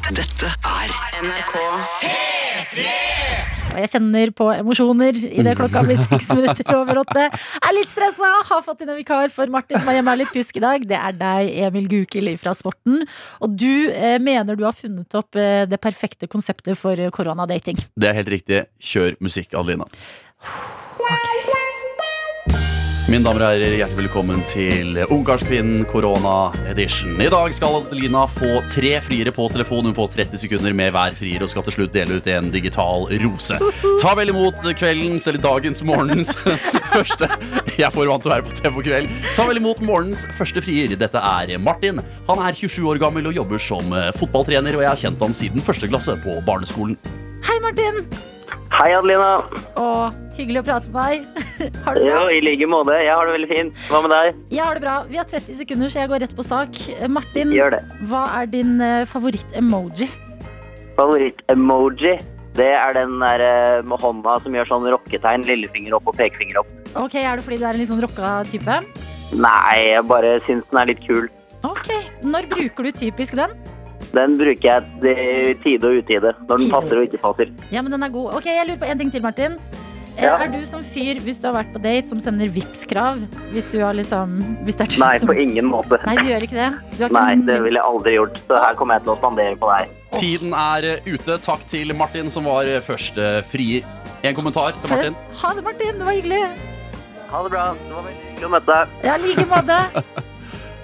Speaker 2: NRK
Speaker 3: Og jeg kjenner på emosjoner idet klokka blir seks minutter over åtte. Er litt stressa, har fått inn en vikar for Martin som er hjemme og er litt pjusk i dag. Det er deg, Emil Gukild fra Sporten. Og du eh, mener du har funnet opp eh, det perfekte konseptet for eh, koronadating.
Speaker 4: Det er helt riktig. Kjør musikk, Adelina. Mine damer og herrer, hjertelig velkommen til Ungkarskvinnen korona edition. I dag skal Adelina få tre friere på telefon. Hun får 30 sekunder med hver frier og skal til slutt dele ut en digital rose. Ta vel imot kveldens, eller dagens, morgens første Jeg får vant til å være på TV på kveld. Ta vel imot morgens første frier. Dette er Martin. Han er 27 år gammel og jobber som eh, fotballtrener, og jeg har kjent han siden første klasse på barneskolen.
Speaker 3: Hei, Martin!
Speaker 7: Hei, Adelina.
Speaker 3: Og hyggelig å prate med deg. Har du det
Speaker 7: Jo,
Speaker 3: bra?
Speaker 7: I like måte. Jeg har det veldig fint. Hva med deg?
Speaker 3: Jeg har det bra. Vi har 30 sekunder, så jeg går rett på sak. Eh, Martin,
Speaker 7: Gjør det.
Speaker 3: hva er din eh, favoritt-emoji?
Speaker 7: Favoritt-emoji, det er den der eh, med hånda som gjør sånn rocketegn, lillefinger opp og pekefinger opp.
Speaker 3: Ok, Er det fordi du er en litt sånn rocka type?
Speaker 7: Nei, jeg bare syns den er litt kul.
Speaker 3: Ok, Når bruker du typisk den?
Speaker 7: Den bruker jeg til tide og utide. Når
Speaker 3: Tide og
Speaker 7: den passer og
Speaker 3: utide.
Speaker 7: ikke passer.
Speaker 3: Ja, men den er god. Ok, Jeg lurer på en ting til, Martin. Eh,
Speaker 7: Ja.
Speaker 3: Er du som fyr, hvis du har vært på date, som sender Vipps-krav? Hvis du har liksom Hvis det er du
Speaker 7: Nei,
Speaker 3: som
Speaker 7: på ingen måte.
Speaker 3: Nei, du gjør ikke det? Du har ikke
Speaker 7: Nei, det ville jeg aldri gjort. Så her kommer jeg til å spandere på deg.
Speaker 4: Tiden er eh, ute. Takk til Martin, som var eh, første frier. En kommentar til Martin.
Speaker 3: Ha det, Martin. Det var hyggelig.
Speaker 7: Ha det bra. Det var veldig hyggelig å møte deg.
Speaker 3: Ja, i like måte.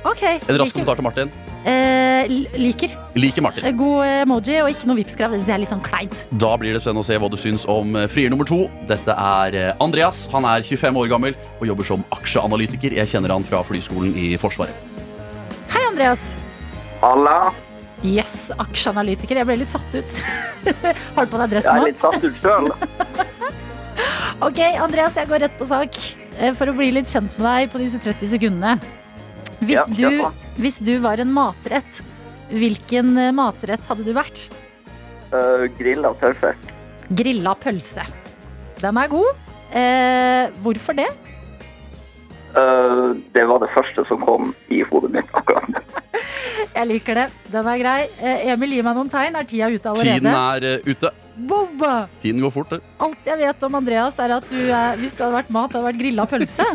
Speaker 3: Ok.
Speaker 4: En rask
Speaker 3: liker.
Speaker 4: kommentar til Martin.
Speaker 3: Eh, li- liker.
Speaker 4: Liker Martin.
Speaker 3: Eh, God emoji og ikke noe Vipps-krav. Det synes jeg er litt sånn kleint.
Speaker 4: Da blir det spennende å se hva du syns om eh, frier nummer to. Dette er eh, Andreas. Han er 25 år gammel og jobber som aksjeanalytiker. Jeg kjenner han fra flyskolen i Forsvaret.
Speaker 3: Hei, Andreas.
Speaker 7: Halla.
Speaker 3: Yes, aksjeanalytiker. Jeg ble litt satt ut. har du på deg
Speaker 7: Jeg
Speaker 3: dressen
Speaker 7: er
Speaker 3: nå?
Speaker 7: litt satt ut sjøl.
Speaker 3: Ok, Andreas, jeg går rett på sak eh, for å bli litt kjent med deg på disse 30 sekundene. Hvis,
Speaker 7: Ja, kjør på.
Speaker 3: du, hvis du var en matrett, hvilken eh, matrett hadde du vært?
Speaker 7: Eh, grill og surfer.
Speaker 3: Grilla pølse. Den er god. Eh, hvorfor det?
Speaker 7: Eh, det var det første som kom i hodet mitt akkurat.
Speaker 3: Jeg liker det. Den er grei. Eh, Emil, gi meg noen tegn. Er tida ute
Speaker 4: Tiden
Speaker 3: allerede?
Speaker 4: er eh, ute.
Speaker 3: Wow!
Speaker 4: Tiden går fort. det.
Speaker 3: Alt jeg vet om Andreas, er at du, eh, hvis det hadde vært mat, hadde det vært grilla pølse.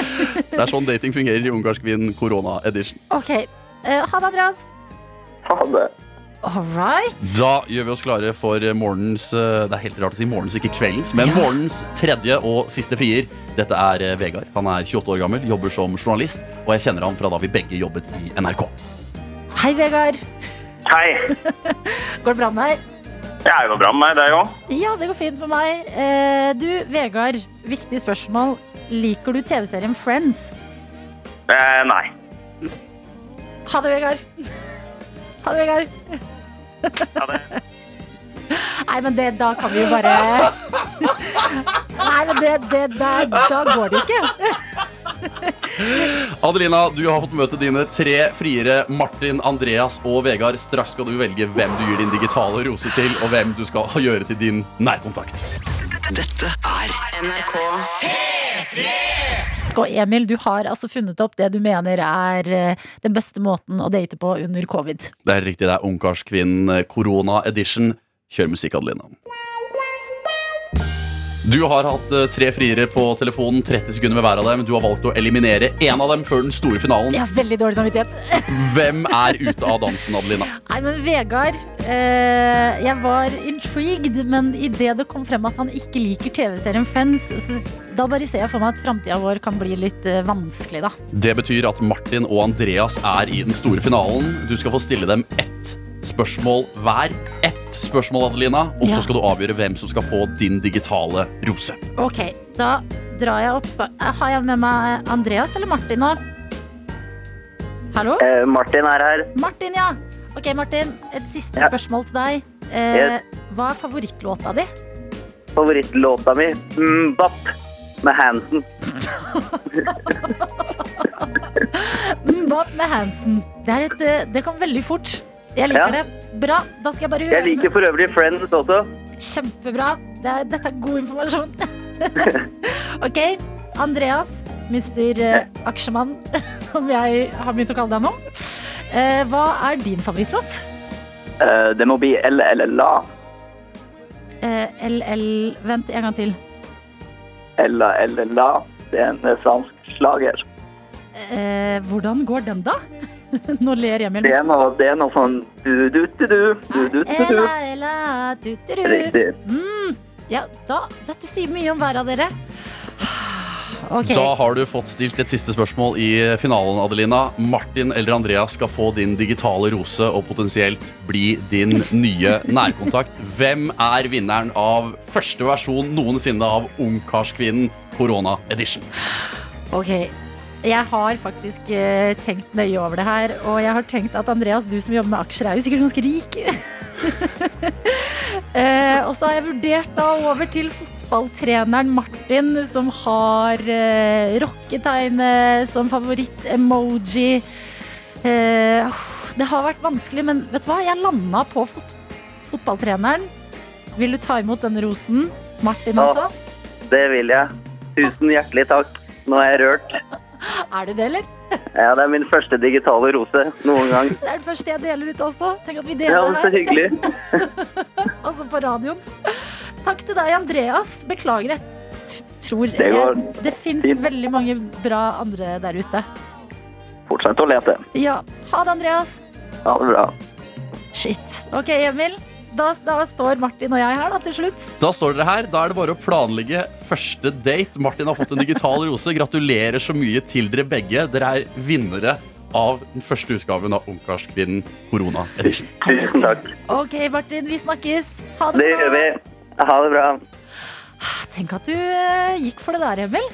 Speaker 4: Det er sånn dating fungerer i Ungarskvinn korona edition.
Speaker 3: Ok. Eh, ha det, Andreas.
Speaker 7: Ha det.
Speaker 3: All right.
Speaker 4: Da gjør vi oss klare for morgens eh, Det er helt rart å si morgens, ikke kveldens, men morgens tredje og siste frier. Dette er eh, Vegard. Han er 28 år gammel, jobber som journalist, og jeg kjenner han fra da vi begge jobbet i NRK.
Speaker 3: Hei, Vegard.
Speaker 8: Hei.
Speaker 3: Går det bra med deg?
Speaker 8: Ja, det går bra med meg, det òg.
Speaker 3: Ja, det går fint med meg. Eh, du, Vegard, viktig spørsmål. Liker du TV-serien Friends?
Speaker 8: Eh, nei.
Speaker 3: Ha det, Vegard. Ha det, Vegard.
Speaker 8: Ja, det,
Speaker 3: Nei, men det, da kan vi jo bare Nei, men det, det der, da går det jo ikke.
Speaker 4: Adelina, du har fått møte dine tre friere, Martin, Andreas og Vegard. Straks skal du velge hvem du gir din digitale rose til, og hvem du skal gjøre til din nærkontakt.
Speaker 2: NRK
Speaker 3: Og Emil, du har altså funnet opp det du mener er eh, den beste måten å date på under covid.
Speaker 4: Det er helt riktig, det er Ungkarskvinnen eh, Corona Edition. Kjør musikk, Adelina. Du har hatt eh, tre friere på telefonen, 30 sekunder med hver av dem. Du har valgt å eliminere én av dem før den store finalen.
Speaker 3: Jeg har veldig dårlig samvittighet.
Speaker 4: Hvem er ute av dansen, Adelina?
Speaker 3: Nei, men Vegard eh, Jeg var intrigued, men idet det kom frem at han ikke liker TV-serien Friends, så s- da bare ser jeg for meg at framtida vår kan bli litt eh, vanskelig, da.
Speaker 4: Det betyr at Martin og Andreas er i den store finalen. Du skal få stille dem ett spørsmål hver. Ett spørsmål, Adelina. Og
Speaker 3: Ja.
Speaker 4: så skal du avgjøre hvem som skal få din digitale rose.
Speaker 3: Ok, da drar jeg opp spa- Eh, Har jeg med meg Andreas eller Martin nå? Hallo?
Speaker 7: Eh, Martin er her.
Speaker 3: Martin, ja. Ok, Martin, et siste
Speaker 7: Ja.
Speaker 3: spørsmål til deg. Eh, hva er favorittlåta di?
Speaker 7: Favorittlåta mi, Mbapp, med Hansen.
Speaker 3: Mm, Hva med Hansen? Det, er et, eh, det kom veldig fort. Jeg liker
Speaker 7: Ja.
Speaker 3: det. Bra. Da skal jeg bare
Speaker 7: Jeg liker for øvrig Friends også.
Speaker 3: Kjempebra. Det er, dette er god informasjon. ok, Andreas, Mr. eh, Aksjemann, som jeg har begynt å kalle deg nå. Eh, hva er din favorittlåt?
Speaker 7: Eh, det må bli LLLA.
Speaker 3: Eh, LL Vent en gang til.
Speaker 7: LLLA. Det er en eh, fransk slager.
Speaker 3: Eh, hvordan går den, da? Nå ler Emil.
Speaker 7: Det er noe, det er noe sånn du-du-du-du, du-du-du-du.
Speaker 3: Ela, ela, du, du, du.
Speaker 7: Riktig.
Speaker 3: Ja, da, dette sier mye om hver av dere. Ok.
Speaker 4: Da har du fått stilt et siste spørsmål i finalen, Adelina. Martin eller Andreas skal få din digitale rose og potensielt bli din nye nærkontakt. Hvem er vinneren av første versjon noensinne av Ungkarskvinnen Corona Edition?
Speaker 3: Ok, jeg har faktisk eh, tenkt nøye over det her, og jeg har tenkt at Andreas, du som jobber med aksjer, er jo sikkert ganske rik. Eh, og så har jeg vurdert da over til fotballtreneren Martin, som har eh, rocketegnet som favoritt-emoji. Eh, det har vært vanskelig, men vet du hva? Jeg landa på fot fotballtreneren. Vil du ta imot den rosen? Martin altså?
Speaker 7: Ja.
Speaker 3: også?
Speaker 7: Det vil jeg. Tusen hjertelig takk. Nå er jeg rørt.
Speaker 3: Er du det, eller?
Speaker 7: Ja, det er min første digitale rose noen gang.
Speaker 3: Det er det første jeg deler ut også. Tenk at vi
Speaker 7: Ja,
Speaker 3: deler
Speaker 7: men så
Speaker 3: det her.
Speaker 7: hyggelig.
Speaker 3: Altså på radioen. Takk til deg, Andreas. Beklager, jeg t- tror
Speaker 7: Det går
Speaker 3: jeg, det fins
Speaker 7: fint.
Speaker 3: veldig mange bra andre der ute.
Speaker 7: Fortsett å lete.
Speaker 3: Ja. Ha det, Andreas.
Speaker 7: Ha det bra.
Speaker 3: Shit. OK, Emil. Da, da står Martin og jeg her da, til slutt.
Speaker 4: Da står dere her. Da er det bare å planlegge første date. Martin har fått en digital rose. Gratulerer så mye til dere begge. Dere er vinnere av den første utgaven av Ungkarskvinnen Corona Edition.
Speaker 7: Tusen takk.
Speaker 3: OK, Martin, vi snakkes. Ha det Ah,
Speaker 7: Det gjør vi. Ha det bra.
Speaker 3: Tenk at du eh, gikk for det der, Emil.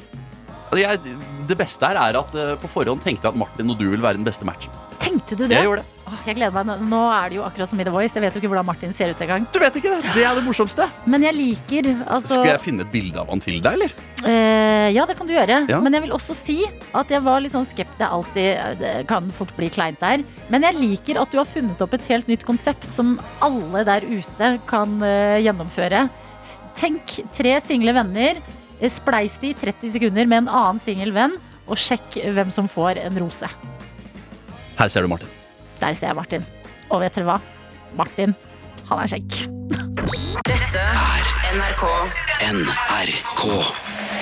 Speaker 4: Altså, Jeg, det beste her er at eh, på forhånd tenkte jeg at Martin og du vil være den beste matchen.
Speaker 3: Tenkte du det?
Speaker 4: Jeg gjorde det.
Speaker 3: Åh, jeg gleder meg. Nå- Nå er det jo akkurat som i The Voice. Jeg vet jo ikke hvordan Martin ser ut engang.
Speaker 4: Du vet ikke det! Det er det morsomste.
Speaker 3: Men jeg liker altså
Speaker 4: Skal jeg finne et bilde av han til deg, eller?
Speaker 3: Eh, ja, det kan du gjøre.
Speaker 4: Ja.
Speaker 3: Men jeg vil også si at jeg var litt sånn skeptisk. Det er alltid det kan fort bli kleint der. Men jeg liker at du har funnet opp et helt nytt konsept som alle der ute kan eh, gjennomføre. Tenk tre single venner. eh, Spleis de i 30 sekunder med en annen singel venn, og sjekk hvem som får en rose.
Speaker 4: Her ser du Martin.
Speaker 3: Der ser jeg Martin. Og vet dere hva? Martin, han er kjekk.
Speaker 2: NRK
Speaker 1: NRK.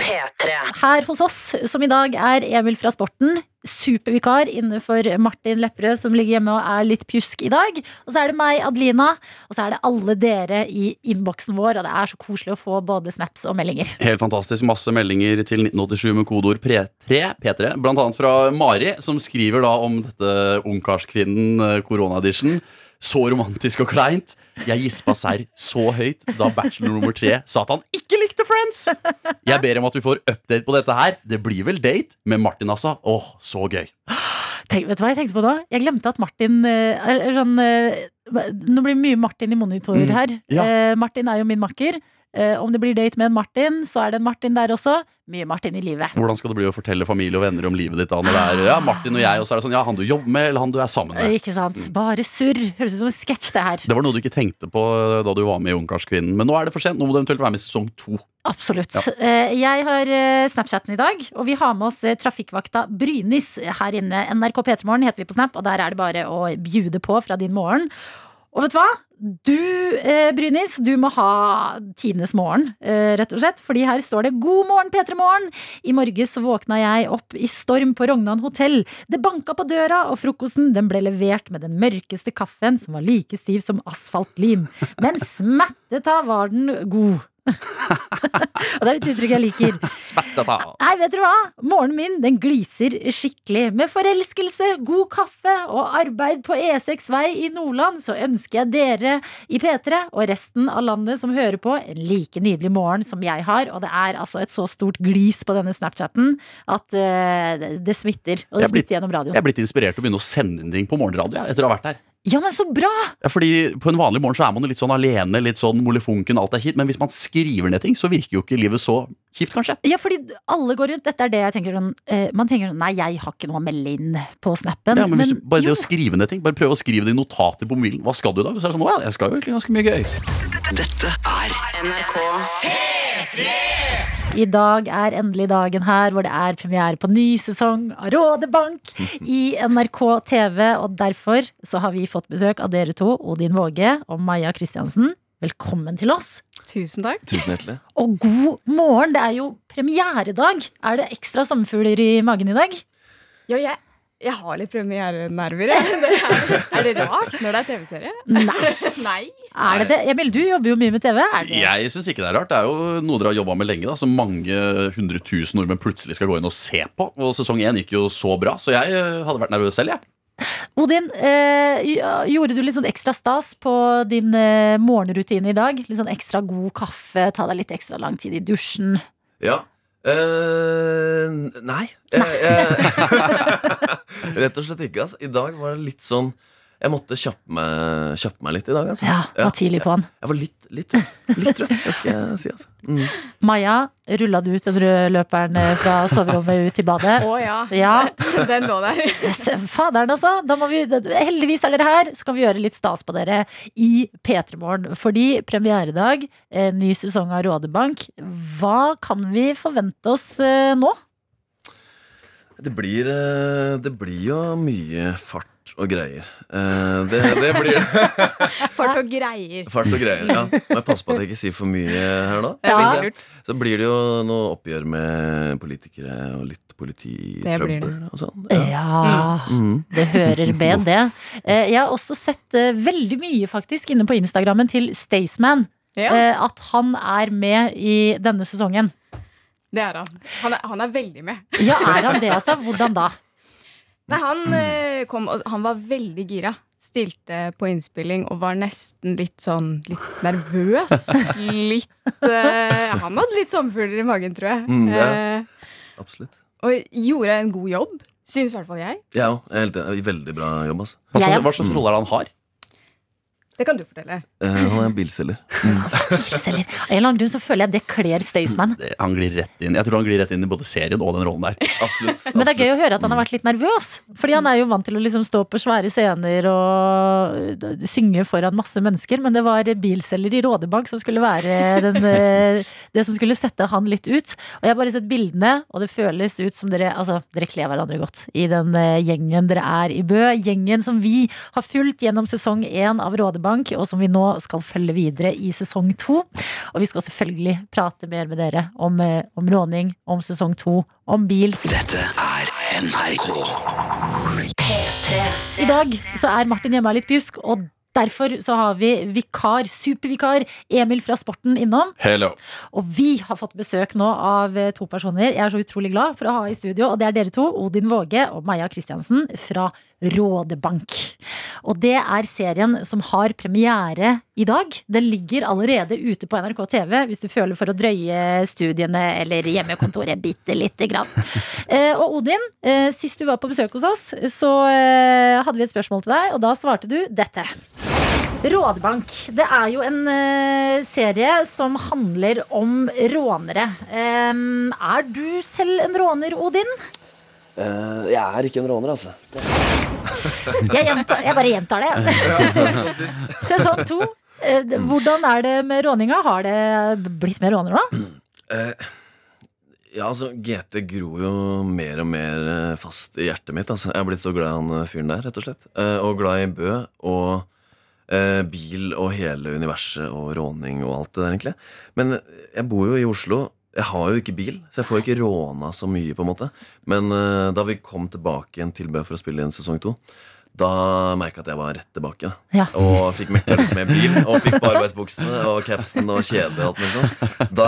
Speaker 2: P3.
Speaker 3: her hos oss, som i dag er Emil fra Sporten. Supervikar innenfor Martin Lepperød, som ligger hjemme og er litt pjusk i dag. Og så er det meg, Adelina, og så er det alle dere i innboksen vår. Og det er så koselig å få både snaps og meldinger.
Speaker 4: Helt fantastisk. Masse meldinger til 1987 med kodeord P3, P3. Blant annet fra Mari, som skriver da om dette Ungkarskvinnen eh, korona-edition. Så romantisk og kleint. Jeg gispa serr så høyt da bachelor nummer tre sa at han ikke likte Friends! Jeg ber om at vi får update på dette her. Det blir vel date med Martin, altså. Åh, så gøy.
Speaker 3: Tenk, vet du hva jeg tenkte på nå? Jeg glemte at Martin eh, er- er sånn, eh, Nå blir det mye Martin i monitor
Speaker 4: Mm,
Speaker 3: her.
Speaker 4: ja.
Speaker 3: Eh, Martin er jo min makker. Eh, om det blir date med en Martin, så er det en Martin der også. Mye Martin i livet.
Speaker 4: Hvordan skal det bli å fortelle familie og venner om livet ditt da når det er ja, Martin og jeg, og så er det sånn ja, han du jobber med, eller han du er sammen med?
Speaker 3: Ikke sant? Bare surr. Høres ut som en sketsj, det her.
Speaker 4: Det var noe du ikke tenkte på da du var med i Ungkarskvinnen, men nå er det for sent. Nå må du eventuelt være med i sesong to.
Speaker 3: Absolutt. Eh, Jeg har eh, Snapchatten i dag, og vi har med oss eh, trafikkvakta Brynis her inne. NRK P3morgen heter vi på Snap, og der er det bare å bjude på fra din morgen. Og vet du hva? Du, eh, Brynis, du må ha tidenes morgen, eh, rett og slett. Fordi her står det 'God morgen, P3 Morgen'. I morges våkna jeg opp i storm på Rognan hotell. Det banka på døra, og frokosten den ble levert med den mørkeste kaffen, som var like stiv som asfaltlim. Men smetteta var den god. og det er et uttrykk jeg liker.
Speaker 4: Spettata.
Speaker 3: Nei, vet dere hva? Morgenen min den gliser skikkelig. Med forelskelse, god kaffe og arbeid på E6 vei i Nordland, så ønsker jeg dere i P3 og resten av landet som hører på, en like nydelig morgen som jeg har. Og det er altså et så stort glis på denne Snapchatten at eh, det, det smitter.
Speaker 4: Jeg er
Speaker 3: Og det
Speaker 4: blitt-
Speaker 3: smitter gjennom
Speaker 4: Jeg
Speaker 3: radioen.
Speaker 4: er blitt inspirert til å begynne å sende inn ting på morgenradio. jeg, etter å ha vært her
Speaker 3: Ja, men så bra!
Speaker 4: ja, Fordi På en vanlig morgen så er man jo litt sånn alene, litt sånn molefonken, alt er kjipt. Men hvis man skriver ned ting, så virker jo ikke livet så kjipt, kanskje.
Speaker 3: Ja, fordi alle går rundt. Dette er det jeg tenker sånn eh, Man tenker sånn Nei, jeg har ikke noe å melde inn på snappen.
Speaker 4: Ja, men hvis du, bare
Speaker 3: jo.
Speaker 4: det å skrive ned ting Bare prøv å skrive det i notater på mobilen. Hva skal du i dag? Og så er det sånn, «Å ja, jeg skal jo egentlig ganske mye gøy.
Speaker 2: NRK
Speaker 3: I dag er endelig dagen her hvor det er premiere på ny sesong av Rådebank i NRK TV. Og derfor så har vi fått besøk av dere to, Odin Våge og Maja Kristiansen. Velkommen til oss.
Speaker 9: Tusen takk.
Speaker 10: Tusen hjertelig.
Speaker 3: Og god morgen! Det er jo premieredag. Er det ekstra sommerfugler i magen i dag?
Speaker 9: Ja, jeg, jeg har litt premierenerver. jeg. Det Er, er det rart når det er TV-serie?
Speaker 3: Nei.
Speaker 9: Nei.
Speaker 3: Er det det? Emil, du jobber jo mye med TV. Er det?
Speaker 4: Jeg syns ikke det er rart. Det er jo noe dere har jobba med lenge, da, som mange hundre tusen nordmenn plutselig skal gå inn og se på. Og sesong én gikk jo så bra, så jeg eh, hadde vært nervøs selv, jeg.
Speaker 3: Odin, eh, gjorde du litt sånn ekstra stas på din eh, morgenrutine i dag? Litt sånn ekstra god kaffe, ta deg litt ekstra lang tid i dusjen.
Speaker 10: Ja. Eh, nei. Eh, eh, rett og slett ikke. Altså. I dag var det litt sånn Jeg måtte kjappe meg, kjappe meg litt i dag. Altså.
Speaker 3: Ja, var tidlig på'n.
Speaker 10: Jeg var litt, litt, litt trøtt, det skal jeg si. Altså. Mm.
Speaker 3: Maja, rulla du ut den røde løperen eh, fra soverommet ut til badet?
Speaker 9: Å ja.
Speaker 3: Ja.
Speaker 9: Den lå der.
Speaker 3: s- Faderen, altså. Da må vi, heldigvis er dere her, så kan vi gjøre litt stas på dere i P3 Morgen. Fordi premieredag, eh, ny sesong av Rådebank. Hva kan vi forvente oss eh, nå?
Speaker 10: Det, blir, eh, det blir jo mye fart og greier. Eh, det, det blir
Speaker 9: Fart og greier.
Speaker 10: fart og greier, ja. Må jeg passe på at jeg ikke sier for mye her nå.
Speaker 9: Det er
Speaker 3: Ja.
Speaker 9: veldig lurt.
Speaker 10: Så blir det jo noe oppgjør med politikere og
Speaker 9: blir
Speaker 10: litt
Speaker 9: det.
Speaker 10: polititrøbbel og sånn. Ja.
Speaker 3: Ja,
Speaker 10: Mm.
Speaker 3: det hører med det. Eh, Jeg har også sett eh, veldig mye faktisk inne på Instagrammen til Staysman.
Speaker 9: Ja,
Speaker 3: eh, At han er med i denne sesongen.
Speaker 9: det er han. Han er, han er veldig med.
Speaker 3: Ja, er han det, altså? Hvordan da?
Speaker 9: Nei, han eh, kom og Han var veldig gira. Stilte på innspilling og var nesten litt sånn litt nervøs. Litt eh, Han hadde litt sommerfugler i magen, tror jeg.
Speaker 10: Mm, ja.
Speaker 9: Eh,
Speaker 10: Absolutt.
Speaker 9: og gjorde en god jobb, syns i hvert fall jeg.
Speaker 10: Jeg òg. Jeg er helt enig. Veldig bra jobb, altså.
Speaker 4: Hva
Speaker 3: Jeg-
Speaker 4: slags, hva slags rolle er det han har?
Speaker 9: Det kan du fortelle.
Speaker 10: Eh, han er bilselger.
Speaker 3: Selger. Av en eller annen grunn så føler jeg det kler Staysman.
Speaker 4: Det- Han glir rett inn Jeg tror han glir rett inn i både serien og den rollen der.
Speaker 10: Absolutt.
Speaker 3: Men det er gøy
Speaker 10: absolutt.
Speaker 3: å høre at han har vært litt nervøs. Fordi han er jo vant til å liksom stå på svære scener og øh, synge foran masse mennesker. Men det var bilselger i Rådebank som skulle være den, øh, det som skulle sette han litt ut. Og jeg har bare sett bildene, og det føles ut som dere Altså, dere kler hverandre godt i den øh, gjengen dere er i Bø. Gjengen som vi har fulgt gjennom sesong én av Rådebank, og som vi nå skal følge videre i sesong to. Og vi skal selvfølgelig prate mer med dere om, eh, om råning, om sesong to, om bil.
Speaker 1: Dette er NRK.
Speaker 3: I dag så er Martin hjemme er litt pjusk, og derfor så har vi vikar, supervikar Emil fra Sporten innom.
Speaker 4: Hello.
Speaker 3: Og vi har fått besøk nå av eh, to personer jeg er så utrolig glad for å ha i studio. Og det er dere to, Odin Våge og Maja Kristiansen fra Rådebank. Og det er serien som har premiere i dag. Den ligger allerede ute på NRK TV hvis du føler for å drøye studiene eller hjemmekontoret bitte lite grann. Eh, Og Odin, eh, sist du var på besøk hos oss, så eh, hadde vi et spørsmål til deg, og da svarte du dette. Rådbank. Det er jo en eh, serie som handler om rånere. Em, er du selv en råner, Odin?
Speaker 10: Eh, jeg er ikke en råner, altså.
Speaker 3: Jeg, gjenta, jeg bare gjentar det. Sesong to. Eh, d- Hvordan er det med råninga? Har det blitt mer råner nå?
Speaker 10: Eh, ja, altså, GT gror jo mer og mer eh, fast i hjertet mitt. Altså. Jeg er blitt så glad i han eh, fyren der, rett og slett. Eh, og glad i Bø. Og eh, bil og hele universet og råning og alt det der, egentlig. Men jeg bor jo i Oslo. Jeg har jo ikke bil, så jeg får jo ikke råna så mye. på en måte Men eh, da vi kom tilbake igjen til Bø for å spille inn sesong to, da merka jeg at jeg var rett tilbake.
Speaker 3: Ja.
Speaker 10: Og fikk mekka litt mer bil, og fikk på arbeidsbuksene og capsen og kjedet. og alt mulig sånt. Da,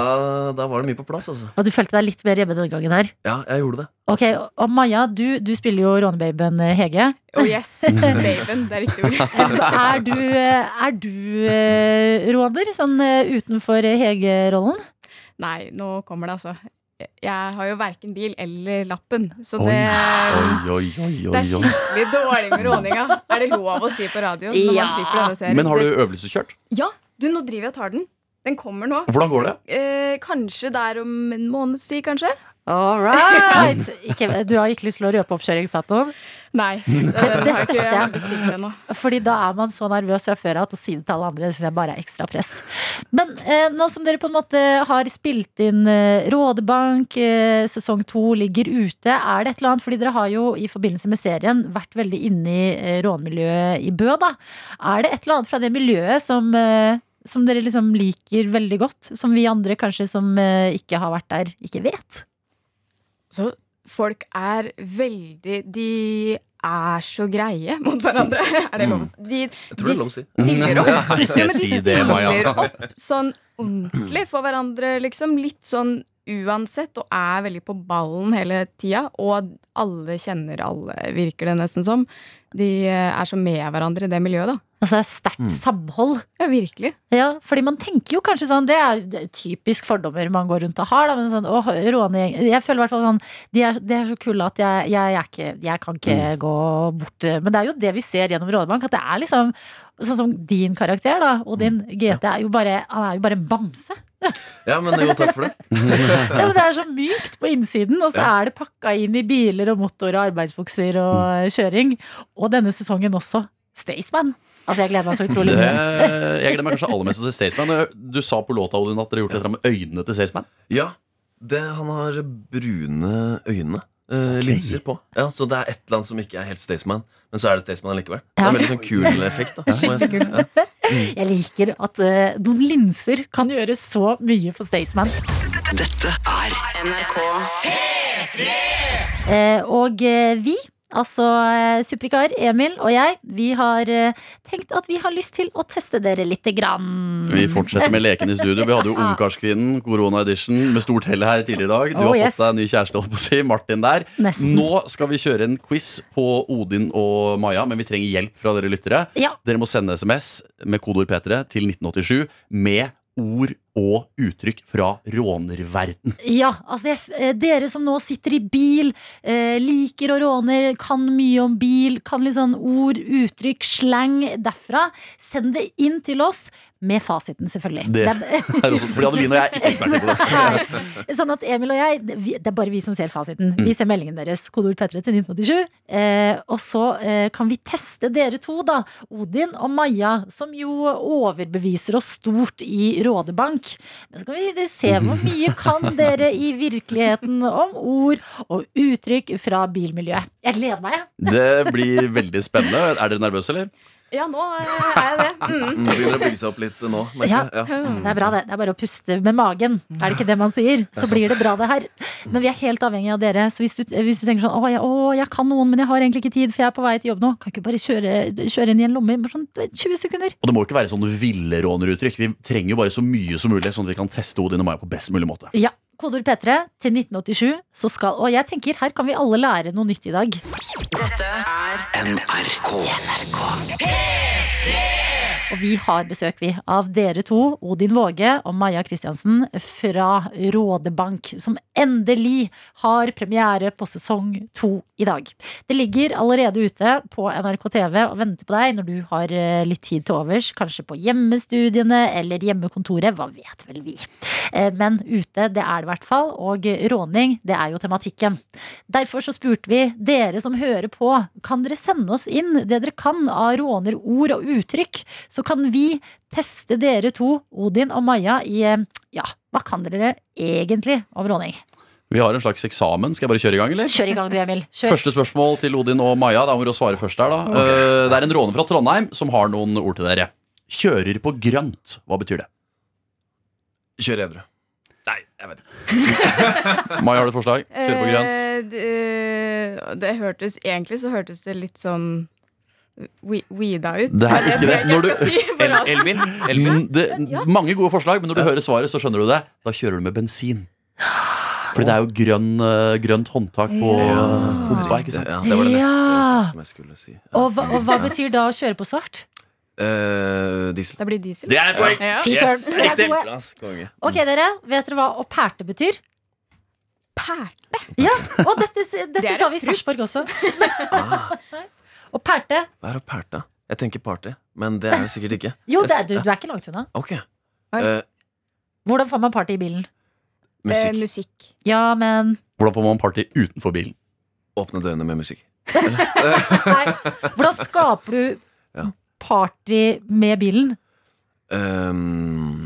Speaker 10: da var det mye på plass, altså.
Speaker 3: Og du følte deg litt mer hjemme denne gangen her.
Speaker 10: Ja, jeg gjorde det.
Speaker 3: Ok, og Maja, du, du spiller jo rånebaben eh, Hege.
Speaker 9: Oh yes, baben. Det er riktig ord.
Speaker 3: Er du, eh, er du eh, råner, sånn eh, utenfor eh, Hege-rollen?
Speaker 9: Nei, nå kommer det, altså. Jeg har jo verken bil eller lappen, så
Speaker 4: Oi,
Speaker 9: det
Speaker 4: oi, oi, oi,
Speaker 9: det er
Speaker 4: oi, oi.
Speaker 9: skikkelig dårlig med råninga. Er det lov å si på radioen? Når man
Speaker 3: Ja.
Speaker 9: slipper denne serien?
Speaker 4: Men har du øvelseskjørt?
Speaker 9: Ja, du, nå driver jeg og tar den. Den kommer nå.
Speaker 4: Hvordan går det?
Speaker 9: Eh, kanskje det er om en måneds tid, kanskje?
Speaker 3: All right! Ikke, du har ikke lyst til å røpe oppkjøringsdatoen?
Speaker 9: Nei. Eh, Det, den har jeg
Speaker 3: støtter
Speaker 9: ikke
Speaker 3: jeg.
Speaker 9: bestilt ennå.
Speaker 3: Fordi da er man så nervøs fra før at å si det til alle andre det synes jeg bare er ekstra press. Men eh, nå som dere på en måte har spilt inn eh, Rådebank, eh, sesong to ligger ute, er det et eller annet? Fordi dere har jo i forbindelse med serien vært veldig inne i eh, rånmiljøet i Bø, da. Er det et eller annet fra det miljøet som, eh, som dere liksom liker veldig godt? Som vi andre kanskje som eh, ikke har vært der, ikke vet?
Speaker 9: Så folk er veldig De er så greie mot hverandre. Er det lov å si? De,
Speaker 10: Mm. Jeg tror det er lov å si.
Speaker 9: de stiller opp. Ja,
Speaker 4: Ikke
Speaker 9: men de
Speaker 4: Mm. si det,
Speaker 9: stiller
Speaker 4: Maja.
Speaker 9: opp sånn ordentlig for hverandre, liksom. Litt sånn uansett, og er veldig på ballen hele tida. Og alle kjenner alle, virker det nesten som. De eh, er så med hverandre i det miljøet, da.
Speaker 3: Altså det er sterkt samhold.
Speaker 9: Ja, virkelig.
Speaker 3: Ja, fordi man tenker jo kanskje sånn Det er det er typisk fordommer man går rundt og har. Da, men sånn, åh, rånegjeng Jeg føler i hvert fall sånn De er, de er så kule at jeg, jeg, er ikke, jeg kan ikke gå bort eh, Men det er jo det vi ser gjennom Rådebank, at det er liksom Sånn som din karakter, da. Og din GT er jo bare Han er jo bare en bamse.
Speaker 10: Ja, men jo, takk for det.
Speaker 3: Ja, men det er så mykt på innsiden, og så er det pakka inn i biler og motor og arbeidsbukser og eh, kjøring. Og denne sesongen også. Staysman. Altså, jeg gleder meg så utrolig
Speaker 4: Det,
Speaker 3: mye.
Speaker 4: jeg gleder meg kanskje aller mest til Staysman. Du sa på låta Odin, at dere har gjort dette med øynene til Staysman.
Speaker 10: Ja, det, han har brune øyne. eh, Linser på. Ja, så det er et eller annet som ikke er helt Staysman, men så er det Staysman allikevel. Det
Speaker 3: Ja.
Speaker 10: er veldig sånn kul effekt. da må jeg si. Ja.
Speaker 3: Jeg liker at eh, noen linser kan gjøre så mye for Staysman.
Speaker 1: Dette er
Speaker 2: NRK
Speaker 3: Eh, og eh, vi, altså eh, supervikar Emil og jeg, vi har eh, tenkt at vi har lyst til å teste dere lite grann.
Speaker 4: Vi fortsetter med leken i studio. Vi hadde jo Ungkarskvinnen, Corona Edition, med stort hell her tidligere i dag. Du
Speaker 3: Oh,
Speaker 4: har
Speaker 3: yes.
Speaker 4: fått deg en ny kjæreste, holdt på å si. Martin der.
Speaker 3: Nesten.
Speaker 4: Nå skal vi kjøre en quiz på Odin og Maja, men vi trenger hjelp fra dere lyttere.
Speaker 3: Ja.
Speaker 4: Dere må sende SMS med kodeord P3 til 1987 med ord og uttrykk fra rånerverden.
Speaker 3: Ja, altså jeg, f- eh, Dere som nå sitter i bil, eh, liker og råner, kan mye om bil, kan litt sånn ord, uttrykk, slang derfra. Send det inn til oss, med fasiten, selvfølgelig.
Speaker 4: Det-
Speaker 3: er-
Speaker 4: Her også, Fordi Adeline og jeg er ikke eksperter på det.
Speaker 3: Nei. Sånn at Emil og jeg, det- vi- det er bare vi som ser fasiten.
Speaker 4: Mm.
Speaker 3: Vi ser meldingen deres. Kodeord P3 til 1987. Eh, og så eh, kan vi teste dere to, da. Odin og Maja, som jo overbeviser oss stort i Rådebank. Men så kan vi se hvor mye kan dere i virkeligheten om ord og uttrykk fra bilmiljøet. Jeg gleder meg, jeg.
Speaker 4: Det blir veldig spennende. Er dere nervøse, eller?
Speaker 9: Ja, nå eh, er jeg det. Mm.
Speaker 10: Mm, Begynner å bygge seg opp litt eh, nå. merker
Speaker 3: Ja.
Speaker 10: jeg. Ja.
Speaker 3: Det er bra, det. Det er bare å puste med magen. Er det ikke det man sier? Så blir det bra, det her. Men vi er helt avhengig av dere. Så hvis du, hvis du tenker sånn å jeg, å, jeg kan noen, men jeg har egentlig ikke tid, for jeg er på vei til jobb nå. Kan ikke bare kjøre, kjøre inn i en lomme i bare sånn 20 sekunder.
Speaker 4: Og det må jo ikke være sånn ville råneruttrykk. Vi trenger jo bare så mye som mulig, sånn at vi kan teste Odin og Maja på best mulig måte.
Speaker 3: Ja. Kodeord P3 til 1987, så skal Og jeg tenker, her kan vi alle lære noe nytt i dag.
Speaker 2: Dette er
Speaker 1: NRK.
Speaker 3: Og vi har besøk, vi, av dere to, Odin Våge og Maja Kristiansen fra Rådebank, som endelig har premiere på sesong to i dag. Det ligger allerede ute på NRK TV og venter på deg når du har eh, litt tid til overs, kanskje på hjemmestudiene eller hjemmekontoret, hva vet vel vi. Eh, Men ute, det er det i hvert fall, og råning, det er jo tematikken. Derfor så spurte vi dere som hører på, kan dere sende oss inn det dere kan av rånerord og uttrykk, så kan vi teste dere to, Odin og Maja, i eh, ja, hva kan dere egentlig om råning?
Speaker 4: Vi har en slags eksamen. Skal jeg bare kjøre i gang, eller?
Speaker 3: Kjør i gang du, Emil. Kjør.
Speaker 4: Første spørsmål til Odin og Maja. Da må dere svare først her, da. Eh, Det er en råner fra Trondheim som har noen ord til dere. Kjører på grønt. Hva betyr det?
Speaker 10: Kjør edru.
Speaker 4: Nei, jeg vet ikke. Maja, har du et forslag? Kjører på grønt.
Speaker 9: Eh, d- eh, det hørtes Egentlig så hørtes det litt sånn we- weeda ut.
Speaker 4: Det er ikke det.
Speaker 9: Jeg vet
Speaker 4: Når
Speaker 9: ikke hva
Speaker 4: du,
Speaker 9: jeg skal si,
Speaker 8: El
Speaker 9: bare-
Speaker 8: Elbil? Elbil?
Speaker 4: Mm, det, mange gode forslag, men når du hører svaret, så skjønner du det. Da kjører du med bensin. Fordi det er jo grønn, eh, grønt håndtak på
Speaker 10: Ja.
Speaker 4: pumpa. ikke sant?
Speaker 10: Ja, det var det neste
Speaker 3: Ja.
Speaker 10: som jeg skulle si. Ja.
Speaker 3: Og hva, og hva betyr da å kjøre på svart?
Speaker 10: Eh, diesel.
Speaker 9: Det blir diesel.
Speaker 4: Det er poeng!
Speaker 9: Ja.
Speaker 3: Fy søren, dere er gode.
Speaker 10: Plass, konge.
Speaker 3: Ok, dere. Vet dere hva å pælte betyr?
Speaker 9: Pært.
Speaker 3: Ja, og dette,
Speaker 9: Det
Speaker 3: dette
Speaker 9: er
Speaker 3: sa
Speaker 9: en
Speaker 3: vi i
Speaker 9: frukt.
Speaker 3: Sarpsborg også.
Speaker 10: Ah,
Speaker 3: Å pælte
Speaker 10: hva er å pælte? Jeg tenker party, men det er det sikkert ikke.
Speaker 3: Jo, det er,
Speaker 10: Jeg s-
Speaker 3: du, du er ikke langt unna.
Speaker 10: Ok.
Speaker 9: Oi.
Speaker 10: Eh,
Speaker 3: Hvordan får man party i bilen?
Speaker 9: Eh,
Speaker 10: musikk.
Speaker 9: musikk.
Speaker 3: Ja, men
Speaker 4: Hvordan får man party utenfor bilen?
Speaker 10: Åpne dørene med musikk.
Speaker 3: Nei. Hvordan skaper
Speaker 10: Ja.
Speaker 3: du party med bilen?
Speaker 10: Ehm,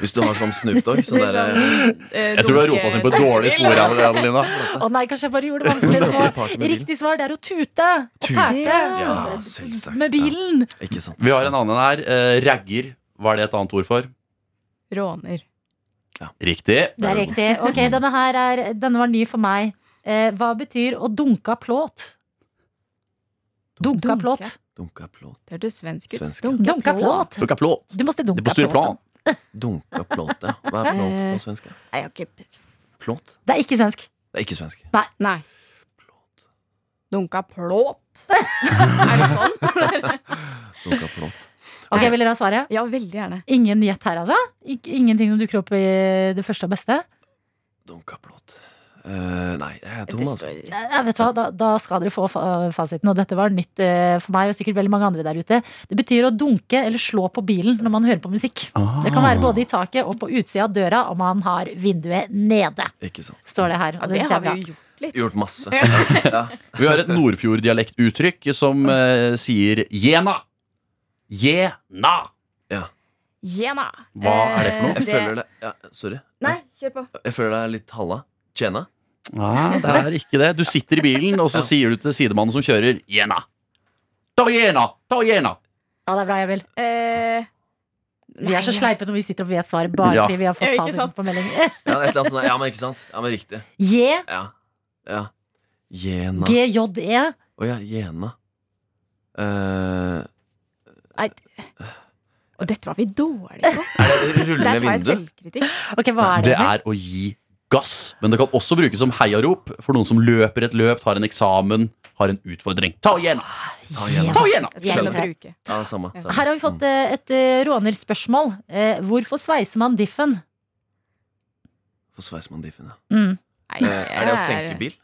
Speaker 10: hvis du har sånn Snoop Dogg, så
Speaker 9: Blir
Speaker 10: der
Speaker 9: sånn, eh,
Speaker 4: Jeg tror du har
Speaker 9: dunke-
Speaker 4: rota oss inn på et dårlig spor. her, Adelina.
Speaker 3: Å nei, kanskje jeg bare gjorde det vanskelig.
Speaker 10: Skaper party
Speaker 3: nå.
Speaker 10: med bilen.
Speaker 3: Riktig svar det er å tute. Å
Speaker 10: Tute.
Speaker 3: pælte.
Speaker 10: Ja, selvsagt.
Speaker 3: Med bilen.
Speaker 10: Ja, ikke sant.
Speaker 4: Vi har en annen her. eh, Ragger. Hva er det et annet ord for?
Speaker 9: Råner.
Speaker 4: Riktig.
Speaker 3: Det er riktig. Ok, denne her er, denne var ny for meg. Eh, hva betyr å dunke av plåt? Dunke av plåt.
Speaker 10: Dunka plåt.
Speaker 9: Det hørtes svensk ut.
Speaker 10: Svensk.
Speaker 9: Dunke
Speaker 3: Dunke av plåt.
Speaker 4: Plukk av plåt.
Speaker 3: Du måtte
Speaker 4: Det
Speaker 3: dunke
Speaker 4: er på
Speaker 3: av plåt.
Speaker 4: styrplan.
Speaker 10: Dunka plåt, ja. Hva er plåt på svensk? ja?
Speaker 9: Nei, jeg har ikke
Speaker 10: Plåt?
Speaker 3: Det er ikke svensk.
Speaker 10: Det er ikke svensk.
Speaker 9: Nei.
Speaker 10: Plåt.
Speaker 9: Dunka plåt. er det sånn?
Speaker 10: Dunka plåt.
Speaker 3: Ok, Vil dere ha svaret?
Speaker 9: Ja, veldig gjerne.
Speaker 3: Ingen gjett her, altså? Ik ingenting som dukker opp i det første og beste?
Speaker 10: Dunka plåt. Eh, nei, jeg er dum,
Speaker 9: Det
Speaker 10: altså.
Speaker 9: står
Speaker 3: Eh, vet du hva, da, da skal dere få fa fasiten, og dette var nytt eh, for meg og sikkert veldig mange andre der ute. Det betyr å dunke eller slå på bilen når man hører på musikk. Det kan være
Speaker 10: Ah.
Speaker 3: både i taket og på utsida av døra om man har vinduet nede,
Speaker 10: Ikke sant.
Speaker 3: står det her. Og det
Speaker 9: Det
Speaker 3: synes jeg er
Speaker 9: har vi
Speaker 3: bra.
Speaker 9: jo gjort litt.
Speaker 10: Gjort masse. Ja.
Speaker 4: Vi har et nordfjorddialektuttrykk som eh, sier jena. Jena.
Speaker 9: Jena.
Speaker 4: Hva er det for noe?
Speaker 10: Jeg føler det ja, Sorry.
Speaker 9: Eh, Nei, kjør på.
Speaker 10: Jeg føler det er litt halla. Tjena.
Speaker 3: Ah,
Speaker 4: Nei, det er ikke det. Du sitter i bilen, og så
Speaker 10: Ja.
Speaker 4: sier du til sidemannen som kjører jena. Ta jena! Ta jena!
Speaker 3: Ja, det er bra, Emil.
Speaker 9: Eh,
Speaker 3: Vi er så
Speaker 9: nei,
Speaker 3: sleipe når vi sitter og vet svaret bare
Speaker 4: Ja.
Speaker 3: fordi vi har fått
Speaker 9: Ja, ikke
Speaker 3: fasiten
Speaker 9: sant?
Speaker 3: på melding.
Speaker 10: Ja, et eller annet sånt. der. Ja, men ikke sant? Ja, men riktig.
Speaker 3: J,
Speaker 10: Ja. ja. Jena. Å
Speaker 3: GJE.
Speaker 10: ja, Jena. Eh,
Speaker 9: Og dette var vi dårlige på.
Speaker 10: er det
Speaker 9: Der
Speaker 10: rullende
Speaker 9: tar jeg
Speaker 10: vindu?
Speaker 9: selvkritikk.
Speaker 3: Ok, hva er
Speaker 4: Det
Speaker 3: det? Emil?
Speaker 4: er å gi gass. Men det kan også brukes som heiarop for noen som løper et løp, tar en eksamen, har en utfordring. Ta jena!
Speaker 10: Ta igjen.
Speaker 4: Ta jena!
Speaker 9: Jeg skal begynne å
Speaker 3: Skjønner.
Speaker 9: bruke.
Speaker 10: Ja, det samme. samme.
Speaker 3: Her har vi fått eh, et eh, rånerspørsmål. Eh, Hvorfor sveiser man diffen?
Speaker 10: Mm. For sveiser man diffen, ja.
Speaker 3: Mm.
Speaker 9: Nei,
Speaker 10: Eh, er det å senke bil?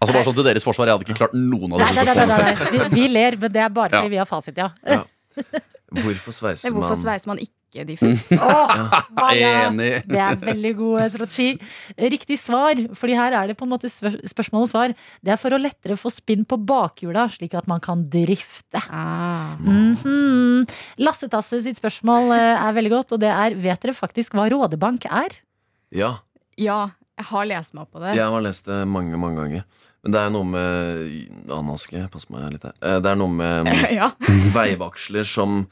Speaker 4: Altså Bare sånn til deres forsvar, jeg hadde ikke klart noen av
Speaker 3: Nei,
Speaker 4: disse
Speaker 3: nei, nei, nei,
Speaker 4: spørsmålene
Speaker 3: nei.
Speaker 4: selv.
Speaker 3: Vi, vi ler, men det er bare fordi
Speaker 4: Ja.
Speaker 3: vi har fasit, ja.
Speaker 10: Hvorfor sveiser
Speaker 9: Nei, Hvorfor
Speaker 10: man
Speaker 9: sveiser man ikke
Speaker 10: Mm.
Speaker 9: diffen?
Speaker 3: Åh, ja.
Speaker 4: Enig.
Speaker 3: Det er veldig god strategi. Riktig svar, fordi her er det på en måte spør spørsmål og svar. Det er for å lettere få spinn på bakhjula, slik at man kan drifte.
Speaker 9: Ah.
Speaker 3: Mhm. Lasse Tasse sitt spørsmål eh, er veldig godt, og det er Vet dere faktisk hva Rådebank er?
Speaker 10: Ja,
Speaker 9: Ja, jeg har lest meg opp på det.
Speaker 10: jeg har lest det mange, mange ganger. Men det er noe med Ah, nå skal jeg passe meg litt her. Eh, Det er noe med mm,
Speaker 9: ja.
Speaker 10: veivaksler som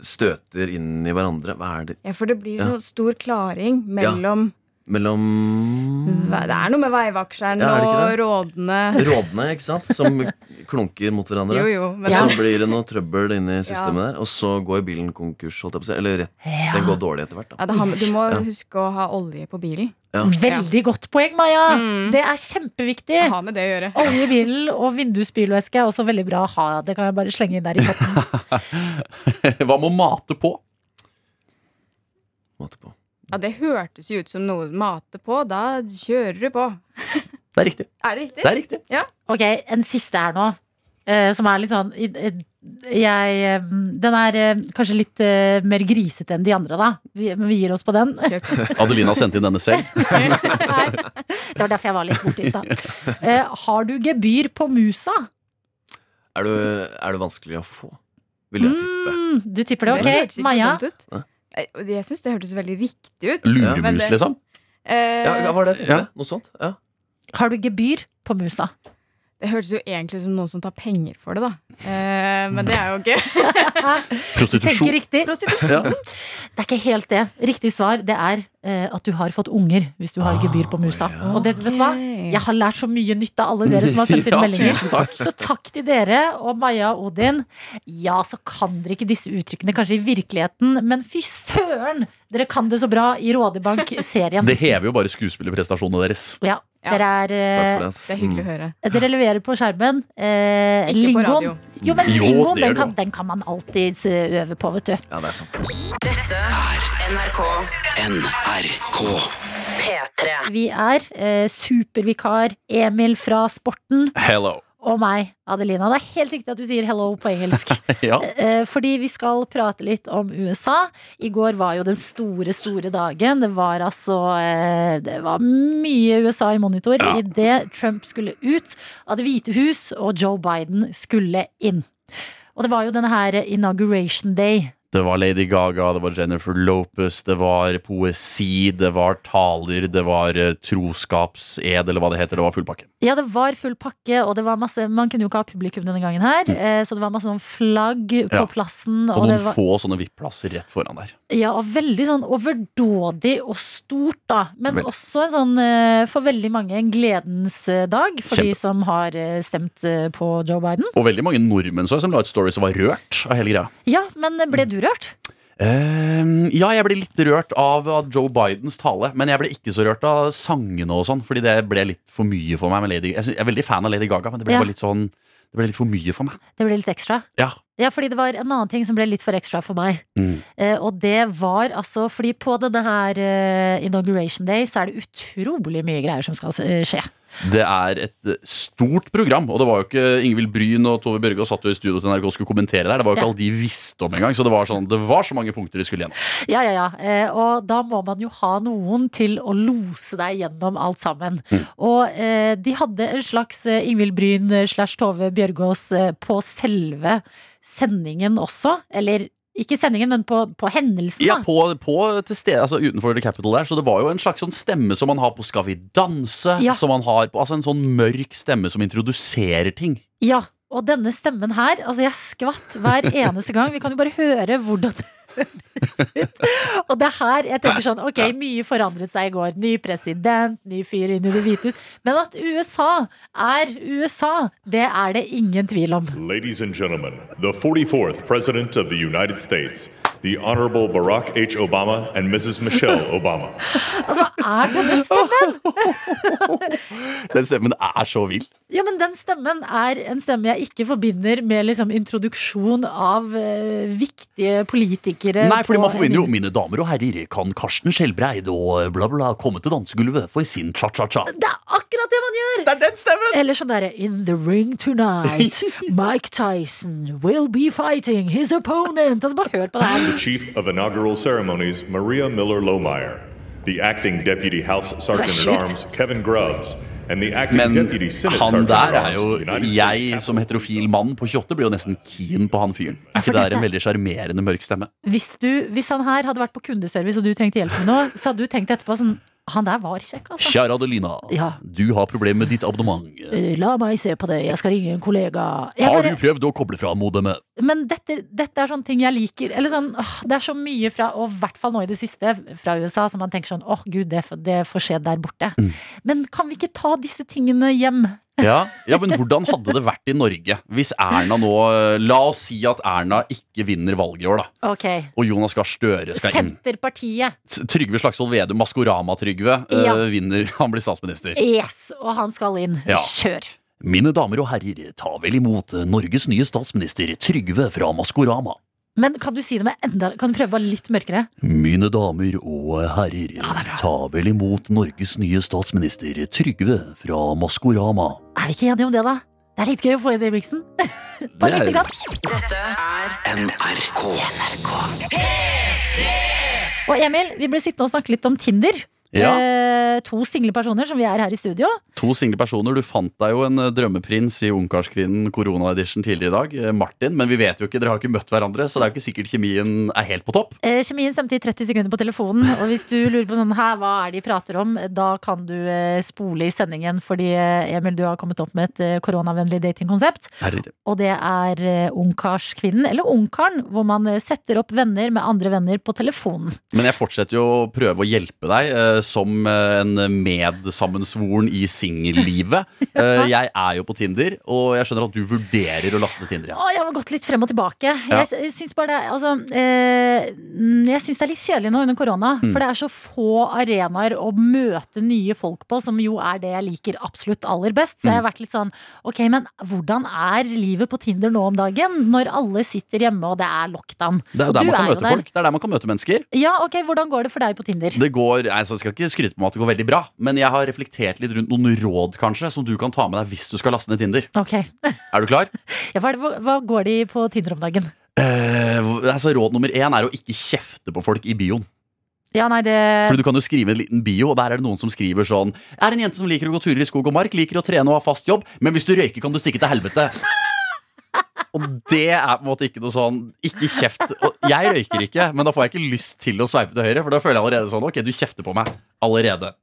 Speaker 10: støter inn i hverandre. Hva er det
Speaker 9: ja, for det blir
Speaker 10: Ja.
Speaker 9: noe stor klaring mellom
Speaker 10: mellom
Speaker 9: Ve- Det er noe med veivaksjeren
Speaker 10: Ja, er det ikke
Speaker 9: og
Speaker 10: det?
Speaker 9: rådene.
Speaker 10: Rådene, ikke sant? Som klunker mot hverandre.
Speaker 9: Jo, jo.
Speaker 10: Og
Speaker 9: Men altså,
Speaker 10: så
Speaker 9: ja.
Speaker 10: blir det noe trøbbel inne i systemet der, og så går bilen konkurs. Holdt jeg på å si. Eller rett, den går dårlig etter hvert. Da.
Speaker 9: det har, du må huske å ha olje på bilen.
Speaker 3: Veldig godt poeng, Maja!
Speaker 9: Mm.
Speaker 3: Det er kjempeviktig.
Speaker 9: Ha med det å gjøre.
Speaker 3: Olje i bilen og vindusspylevæske er også veldig bra å ha. Det kan jeg bare slenge inn der i potten.
Speaker 4: Hva med å mate på?
Speaker 10: Måte på.
Speaker 9: Ja, det hørtes jo ut som noe du mater på. Da kjører du på.
Speaker 4: Det er riktig.
Speaker 9: Er det riktig?
Speaker 4: Det er riktig.
Speaker 3: Ok, en siste her nå, eh, som er litt sånn i- eh, jeg, eh, Den er eh, kanskje litt eh, mer grisete enn de andre, da. Vi, men vi gir oss på den.
Speaker 9: Kjør på.
Speaker 4: Adelina sendte inn denne selv.
Speaker 3: Nei. Det var derfor jeg var litt borti i stad. Eh, Har du gebyr på musa?
Speaker 10: Er, du, er det vanskelig å få? Vil jeg tippe.
Speaker 3: Mm, du tipper det,
Speaker 9: Det hørtes
Speaker 3: ok?
Speaker 9: ikke så
Speaker 3: Maja?
Speaker 9: dumt ut. Eh, og Jeg syns det hørtes veldig riktig ut. men
Speaker 4: Luremus,
Speaker 9: det-
Speaker 4: liksom?
Speaker 9: Eh,
Speaker 10: Ja, hva var det? jeg tenkte?
Speaker 4: Ja.
Speaker 10: Noe sånt? Ja.
Speaker 3: Har du gebyr på musa?
Speaker 9: Det hørtes jo egentlig ut som noen som tar penger for det, da. Eh, men det er jo ikke
Speaker 3: Tenker
Speaker 4: Prostitusjon.
Speaker 3: riktig.
Speaker 10: Ja.
Speaker 3: Det er ikke helt det. Riktig svar det er eh, at du har fått unger hvis du har
Speaker 10: Ah,
Speaker 3: gebyr på musa.
Speaker 10: ja.
Speaker 3: Og det, vet du hva? Jeg har lært så mye nytt av alle dere som har sendt inn
Speaker 4: Mm. Ja,
Speaker 3: meldinger.
Speaker 4: tusen takk.
Speaker 3: Så takk til dere og Maja og Odin. Ja, så kan dere ikke disse uttrykkene kanskje i virkeligheten, men fy søren! Dere kan det så bra i Rådebank-serien.
Speaker 4: Det hever jo bare skuespillerprestasjonene deres.
Speaker 3: Ja, dere er
Speaker 10: Takk
Speaker 3: eh,
Speaker 10: for det. ass.
Speaker 9: Det er hyggelig å høre.
Speaker 3: Dere leverer på skjermen. Eh,
Speaker 9: Ikke på
Speaker 3: lingoen.
Speaker 9: radio.
Speaker 3: Jo, men
Speaker 4: Jo,
Speaker 3: lingoen,
Speaker 4: det gjør
Speaker 3: den
Speaker 4: du.
Speaker 3: kan, den kan man alltids eh, øve på, vet du.
Speaker 10: Ja, det er sant.
Speaker 2: Dette er NRK
Speaker 1: NRK.
Speaker 2: P3.
Speaker 3: Vi er eh, supervikar Emil fra Sporten
Speaker 4: Hello.
Speaker 3: og meg, Adelina. Det er helt riktig at du sier hello på engelsk.
Speaker 4: Ja.
Speaker 3: Eh, Fordi vi skal prate litt om USA. I går var jo den store, store dagen. Det var altså eh, Det var mye USA i monitor
Speaker 4: Ja.
Speaker 3: i idet Trump skulle ut av Det hvite hus og Joe Biden skulle inn. Og det var jo denne her inauguration day.
Speaker 4: Det var Lady Gaga, det var Jennifer Lopez, det var poesi, det var taler, det var eh, troskapsed, eller hva det heter. Det var full pakke.
Speaker 3: Ja, det var full pakke, og det var masse Man kunne jo ikke ha publikum denne gangen her, eh, så det var masse sånn flagg på
Speaker 4: Mm. Ja.
Speaker 3: plassen.
Speaker 4: Og
Speaker 3: det
Speaker 4: noen
Speaker 3: var,
Speaker 4: få sånne VIP-plasser rett foran der.
Speaker 3: Ja, og veldig sånn overdådig og stort, da. Men
Speaker 4: Veldig.
Speaker 3: også en sånn, eh, for veldig mange en gledens eh, dag for de
Speaker 4: Kjempe.
Speaker 3: som har eh, stemt eh, på Joe Biden.
Speaker 4: Og veldig mange nordmenn så jeg som la ut stories og var rørt av hele greia.
Speaker 3: Ja, men eh, ble du rørt?
Speaker 4: Ehm, ja, jeg ble litt rørt av av Joe Bidens tale, men jeg ble ikke så rørt av sangene og sånn, fordi det ble litt for mye for meg. Med Lady, jeg, synes, jeg er veldig fan av Lady Gaga, men det ble
Speaker 3: Ja.
Speaker 4: bare litt sånn Det ble litt for mye for meg.
Speaker 3: Det ble litt ekstra.
Speaker 4: Ja.
Speaker 3: Ja, fordi det var en annen ting som ble litt for ekstra for meg.
Speaker 4: Mm.
Speaker 3: Eh, og det var altså Fordi på denne her eh, inauguration day så er det utrolig mye greier som skal eh, skje.
Speaker 4: Det er et eh, stort program, og det var jo ikke Ingvild Bryn og Tove Bjørgaas satt jo i studio til NRK og skulle kommentere der. Det var jo
Speaker 3: Ja.
Speaker 4: ikke alle de visste om engang, så det var, sånn, det var så mange punkter de skulle gjennom.
Speaker 3: Ja, ja, ja. Eh, og da må man jo ha noen til å lose deg gjennom alt sammen. Og eh, de hadde en slags eh, Ingvild Bryn eh, slash Tove Bjørgaas eh, på selve sendingen også. Eller ikke sendingen, men på, på hendelsen.
Speaker 4: Ja,
Speaker 3: da.
Speaker 4: på, på til sted, altså utenfor The Capital der, så det var jo en slags sånn stemme som man har på Skal vi danse,
Speaker 3: Ja.
Speaker 4: som man har på Altså en sånn mørk stemme som introduserer ting.
Speaker 3: Ja, og denne stemmen her, altså jeg skvatt hver eneste gang. Vi kan jo bare høre hvordan det høres ut. Og det er her jeg tenker sånn, ok, mye forandret seg i går. Ny president, ny fyr inn i det hvite hus. Men at USA er USA, det er det ingen tvil om.
Speaker 11: Ladies and gentlemen, the 44th President of the United States, the Honorable Barack H. Obama and Mrs. Michelle Obama.
Speaker 3: Altså, hva er denne stemmen?
Speaker 4: Den stemmen er så vill.
Speaker 3: Ja, men den stemmen er en stemme jeg ikke forbinder med liksom introduksjon av eh, viktige politikere.
Speaker 4: Nei, fordi
Speaker 3: Eh, på
Speaker 4: man forbinder jo
Speaker 3: en-
Speaker 4: Mine damer og herrer, kan Karsten Skjelbreid og bla, bla, komme til dansegulvet for sin cha-cha-cha?
Speaker 3: Det er akkurat det man gjør!
Speaker 4: Det er den stemmen!
Speaker 3: Eller sånn derre In the ring tonight, Mike Tyson will be fighting his opponent. Altså, bare hør på det her.
Speaker 11: The Chief of Inaugural Ceremonies, Maria Miller Lohmeyer. The Acting Deputy House Sergeant at Arms, Kevin Grubbs. And the Acting
Speaker 4: Men
Speaker 11: Deputy Senate
Speaker 4: han
Speaker 11: Sergeant at
Speaker 4: der er
Speaker 11: Arms,
Speaker 4: jo
Speaker 11: of the United States
Speaker 4: Jeg
Speaker 11: Capitol.
Speaker 4: som heterofil mann på 28 blir jo nesten keen på han fyren. Er
Speaker 3: for
Speaker 4: ikke det er
Speaker 3: dette-
Speaker 4: en veldig sjarmerende mørk stemme?
Speaker 3: Hvis, du, hvis han her hadde vært på kundeservice og du trengte hjelp med noe, så hadde du tenkt etterpå sånn Han der var kjekk, altså.
Speaker 4: Kjære Adelina,
Speaker 3: Ja.
Speaker 4: du har problemer med ditt abonnement.
Speaker 3: Eh, La meg se på det, jeg skal ringe en kollega. Jeg
Speaker 4: Har du
Speaker 3: bare-
Speaker 4: prøvd å koble fra modemet?
Speaker 3: Men dette, dette er sånne ting jeg liker. Eller sånn, åh, det er så mye fra, og i hvert fall nå i det siste, fra USA, som man tenker sånn åh gud, det, får- det får skje der borte.
Speaker 4: Mm.
Speaker 3: Men kan vi ikke ta disse tingene hjem?
Speaker 4: Ja. ja, men hvordan hadde det vært i Norge hvis Erna nå eh, La oss si at Erna ikke vinner valget i år, da.
Speaker 3: Ok.
Speaker 4: Og Jonas Gahr Støre skal inn.
Speaker 3: Senterpartiet.
Speaker 4: Trygve Slagsvold Vedum, Maskorama-Trygve, eh,
Speaker 3: Ja.
Speaker 4: vinner. Han blir statsminister.
Speaker 3: Yes, og han skal inn.
Speaker 4: Ja.
Speaker 3: Kjør.
Speaker 4: Mine damer og herrer, ta vel imot eh, Norges nye statsminister Trygve fra Maskorama.
Speaker 3: Men kan du si det med enda Kan du prøve bare litt mørkere?
Speaker 4: Mine damer og herrer, ta vel imot Norges nye statsminister Trygve fra Maskorama.
Speaker 3: Er vi ikke enige om det, da? Det er litt gøy å få inn det i miksen. Bare
Speaker 4: Det er-
Speaker 3: lite grann.
Speaker 2: Dette er
Speaker 1: NRK. NRK.
Speaker 3: Og Emil, vi ble sittende og snakke litt om Tinder.
Speaker 4: Ja.
Speaker 3: Eh, to single personer som vi er her i studio.
Speaker 4: To single personer. Du fant deg jo en eh, drømmeprins i Ungkarskvinnen korona-edition tidligere i dag. eh, Martin. Men vi vet jo ikke, dere har ikke møtt hverandre, så det er jo ikke sikkert kjemien er helt på topp.
Speaker 3: Eh, kjemien stemte i 30 sekunder på telefonen, og hvis du lurer på sånn, her, hva er det de prater om, da kan du eh, spole i sendingen, fordi eh, Emil, du har kommet opp med et eh, koronavennlig datingkonsept. Og det er eh, ungkarskvinnen, eller ungkaren, hvor man eh, setter opp venner med andre venner på telefonen.
Speaker 4: Men jeg fortsetter jo å prøve å hjelpe deg eh, som eh, en medsammensvoren i singellivet. Eh, jeg er jo på Tinder, og jeg skjønner at du vurderer å laste Tinder igjen.
Speaker 3: Å, jeg har gått litt frem og tilbake.
Speaker 4: Ja.
Speaker 3: Jeg, s- syns bare det, er- altså, eh, mm, jeg syns det er litt kjedelig nå under korona.
Speaker 4: Mm.
Speaker 3: For det er så få arenaer å møte nye folk på, som jo er det jeg liker absolutt aller best. Så jeg
Speaker 4: Mm.
Speaker 3: har vært litt sånn Ok, men hvordan er livet på Tinder nå om dagen? Når alle sitter hjemme og det er lockdown.
Speaker 4: Det er
Speaker 3: og
Speaker 4: jo der
Speaker 3: du
Speaker 4: man kan
Speaker 3: jo
Speaker 4: møte folk. Det er der man kan møte mennesker.
Speaker 3: Ja, ok, Hvordan går det for deg på Tinder?
Speaker 4: Det går, altså, Jeg skal ikke skryte på meg at det går veldig bra, men jeg har reflektert litt rundt noen råd kanskje som du kan ta med deg hvis du skal laste ned Tinder.
Speaker 3: Ok,
Speaker 4: Er du klar?
Speaker 3: ja, hva, er det- hva- hva går de på Tinder om dagen?
Speaker 4: Eh, altså, råd nummer én er å ikke kjefte på folk i bioen.
Speaker 3: Ja, nei, det
Speaker 4: Fordi du kan jo skrive en liten bio, og der er det noen som skriver sånn Er en jente som liker å gå turer i skog og mark, liker å trene og ha fast jobb, men hvis du røyker, kan du stikke til helvete. Og det er på en måte ikke noe sånn Ikke kjeft. Og jeg røyker ikke, men da får jeg ikke lyst til å sveipe til høyre, for da føler jeg allerede sånn Ok, du kjefter på meg allerede.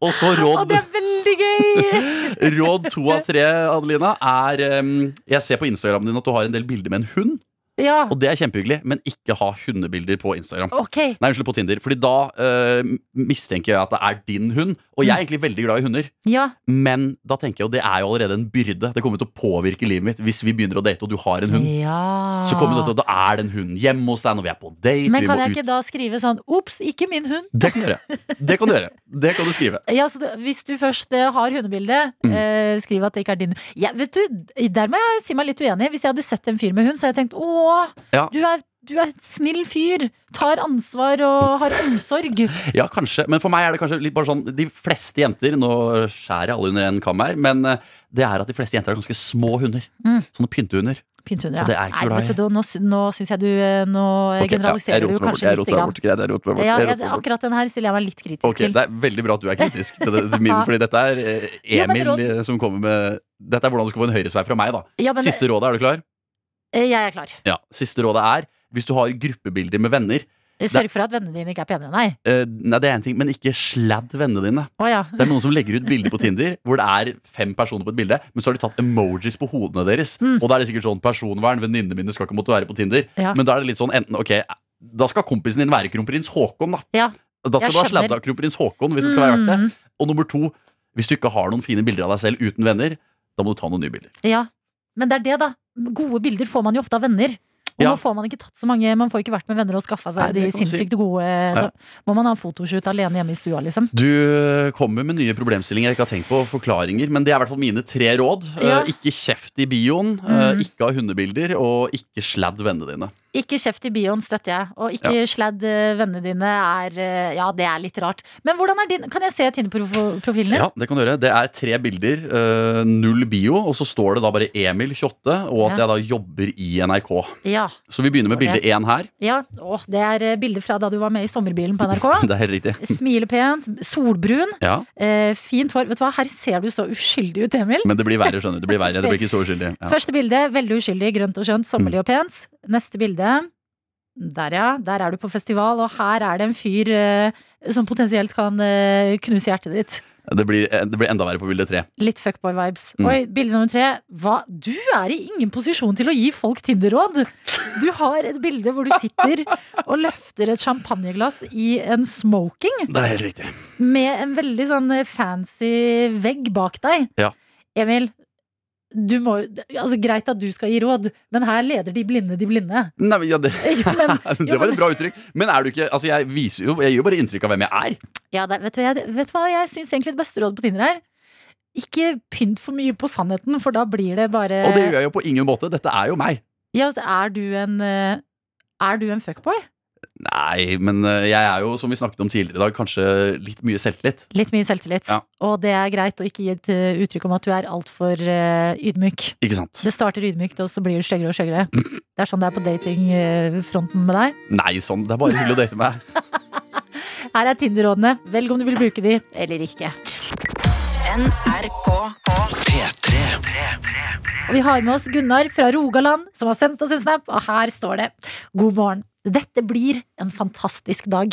Speaker 4: Og så råd
Speaker 3: Veldig gøy!
Speaker 4: Råd to av tre, Adelina, er em, Jeg ser på Instagramen din at du har en del bilder med en hund.
Speaker 3: Ja,
Speaker 4: Og det er kjempehyggelig, men ikke ha hundebilder på Instagram.
Speaker 3: ok.
Speaker 4: Nei, unnskyld, på Tinder. Fordi da eh, mistenker jeg at det er din hund. Og jeg
Speaker 3: Mm.
Speaker 4: er egentlig veldig glad i hunder,
Speaker 3: Ja,
Speaker 4: men da tenker jeg jo det er jo allerede en byrde. Det kommer til å påvirke livet mitt hvis vi begynner å date og du har en hund.
Speaker 3: ja.
Speaker 4: Så kommer det til at da er det en hund hjemme hos deg når vi er på date.
Speaker 3: Men
Speaker 4: vi
Speaker 3: kan
Speaker 4: må
Speaker 3: jeg
Speaker 4: ut.
Speaker 3: ikke da skrive sånn Ops, ikke min hund.
Speaker 4: Det kan du gjøre. Det kan du gjøre. Det kan du skrive.
Speaker 3: Ja, så det- Hvis du først eh, har hundebilde,
Speaker 4: Mm.
Speaker 3: eh, skriv at det ikke er din. Ja, vet du, Der må jeg si meg litt uenig. Hvis jeg hadde sett en fyr med hund, så hadde jeg tenkt Åh,
Speaker 4: Ja.
Speaker 3: du er, du er et snill fyr. Tar ansvar og har omsorg.
Speaker 4: Ja, kanskje. Men for meg er det kanskje litt bare sånn De fleste jenter Nå skjærer jeg alle under en kam her, men eh, det er at de fleste jenter har ganske små hunder.
Speaker 3: Mm.
Speaker 4: Sånne pyntehunder.
Speaker 3: Pynthunder,
Speaker 4: Og det er jeg ikke så
Speaker 3: Nei,
Speaker 4: glad i.
Speaker 3: vet du, Nå, sy- nå syns jeg du eh, Nå
Speaker 4: Ok, ja,
Speaker 3: generaliserer
Speaker 4: jeg
Speaker 3: du
Speaker 4: roter meg bort,
Speaker 3: kanskje
Speaker 4: jeg
Speaker 3: litt.
Speaker 4: roter meg
Speaker 3: Grann.
Speaker 4: bort, greit, jeg roter meg bort,
Speaker 3: Ja,
Speaker 4: jeg
Speaker 3: jeg,
Speaker 4: roter meg bort.
Speaker 3: akkurat den her stiller jeg meg litt kritisk
Speaker 4: Ok,
Speaker 3: til.
Speaker 4: Det er veldig bra at du er kritisk til, det- til min, fordi dette er eh,
Speaker 3: Jo, men
Speaker 4: Emil
Speaker 3: råd-
Speaker 4: eh, som kommer med Dette er hvordan du skal få en høyresvei fra meg, da.
Speaker 3: Ja, men-
Speaker 4: Siste rådet, er du klar?
Speaker 3: Eh, Jeg er klar.
Speaker 4: Ja. Siste rådet er hvis du har gruppebilder med venner
Speaker 3: Sørg for at vennene dine ikke er penere enn deg.
Speaker 4: eh, Nei, det er en ting, men ikke sladd vennene dine.
Speaker 3: Å ja.
Speaker 4: Det er noen som legger ut bilder på Tinder hvor det er fem personer på et bilde, men så har de tatt emojis på hodene deres.
Speaker 3: Mm.
Speaker 4: Og da er det sikkert sånn personvern, venninnene mine skal ikke måtte være på Tinder.
Speaker 3: Ja.
Speaker 4: Men da er det litt sånn enten ok, da skal kompisen din være kronprins Haakon, da.
Speaker 3: Ja.
Speaker 4: Da skal du
Speaker 3: Jeg
Speaker 4: ha
Speaker 3: skjønner. Mm.
Speaker 4: sladda kronprins Haakon hvis det skal være verdt det. Og nummer to, hvis du ikke har noen fine bilder av deg selv uten venner, da må du ta noen nye bilder.
Speaker 3: Ja, men det er det da Gode bilder får man jo ofte av venner Og
Speaker 4: Ja.
Speaker 3: nå får man ikke tatt så mange Man får ikke vært med venner og skaffa seg
Speaker 4: Nei, det kan
Speaker 3: de
Speaker 4: du si.
Speaker 3: sinnssykt gode
Speaker 4: Ja.
Speaker 3: Da må man ha fotoshoot alene hjemme i stua liksom
Speaker 4: Du øh, kommer med nye problemstillinger jeg ikke har tenkt på, forklaringer, men det er i hvert fall mine tre råd.
Speaker 3: Ja. Mm.
Speaker 4: Eh, ikke kjeft i bioen, eh, ikke ha hundebilder, og ikke sladd vennene dine.
Speaker 3: Ikke kjeft i bioen støtter jeg Og ikke sladd eh, vennene dine er eh, Ja, det er litt rart Men hvordan er din, kan jeg se Tinder-profilen din?
Speaker 4: Ja, det kan du gjøre. Det er tre bilder, eh, null bio, og så står det da bare Emil 28, og at
Speaker 3: Ja.
Speaker 4: jeg da jobber i NRK.
Speaker 3: Ja,
Speaker 4: Så vi begynner med
Speaker 3: Står
Speaker 4: bilde
Speaker 3: det.
Speaker 4: én her.
Speaker 3: ja. Åh, det er eh, bilder fra da du var med i sommerbilen på NRK
Speaker 4: Det er helt riktig.
Speaker 3: Smile pent, solbrun
Speaker 4: Ja,
Speaker 3: eh, Fint hår, vet du hva? Her ser du så uskyldig ut Emil
Speaker 4: Men det blir verre, skjønner du. Det blir verre, det blir ikke så uskyldig. Ja. Mm.
Speaker 3: Første bilde, veldig uskyldig, grønt og skjønt, sommerlig og pent. Neste bilde, der ja, der er du på festival, og her er det en fyr eh, som potensielt kan eh, knuse hjertet ditt.
Speaker 4: Det blir, eh, det blir enda verre på bilde tre.
Speaker 3: Litt fuckboy-vibes.
Speaker 4: Mm.
Speaker 3: Oi, bilde nummer tre. Hva? Du er i ingen posisjon til å gi folk Tinder-råd! Du har et bilde hvor du sitter og løfter et champagneglass i en smoking
Speaker 4: Det er helt riktig.
Speaker 3: med en veldig sånn fancy vegg bak deg.
Speaker 4: Ja.
Speaker 3: Emil, du må, altså, greit at du skal gi råd, men her leder de blinde de blinde.
Speaker 4: Nei, men, ja, det,
Speaker 3: men-
Speaker 4: det var et bra uttrykk. Men er du ikke Altså, jeg viser jo Jeg gir jo bare inntrykk av hvem jeg er.
Speaker 3: Ja, det, vet, du, jeg, vet du hva jeg syns egentlig det beste rådet på Tinder er? Ikke pynt for mye på sannheten, for da blir det bare
Speaker 4: Og det gjør jeg jo på ingen måte. Dette er jo meg.
Speaker 3: Ja, altså, er du en eh, Er du en fuckboy?
Speaker 4: Nei, men eh, jeg er jo, som vi snakket om tidligere i dag, kanskje litt mye selvtillit.
Speaker 3: Litt mye selvtillit.
Speaker 4: Ja.
Speaker 3: Og det er greit å ikke gi et eh, uttrykk om at du er altfor uh, ydmyk.
Speaker 4: Ikke sant?
Speaker 3: Det starter ydmykt, og så blir du styggere og styggere. Det er sånn det er på datingfronten med deg.
Speaker 4: Nei, sånn. Det er bare hyggelig å date med.
Speaker 3: Her er Tinder-rådene. Velg om du vil bruke de eller ikke.
Speaker 2: NRK P3.
Speaker 3: Og vi har med oss Gunnar fra Rogaland, som har sendt oss en snap, og her står det. God morgen. Dette blir en fantastisk dag.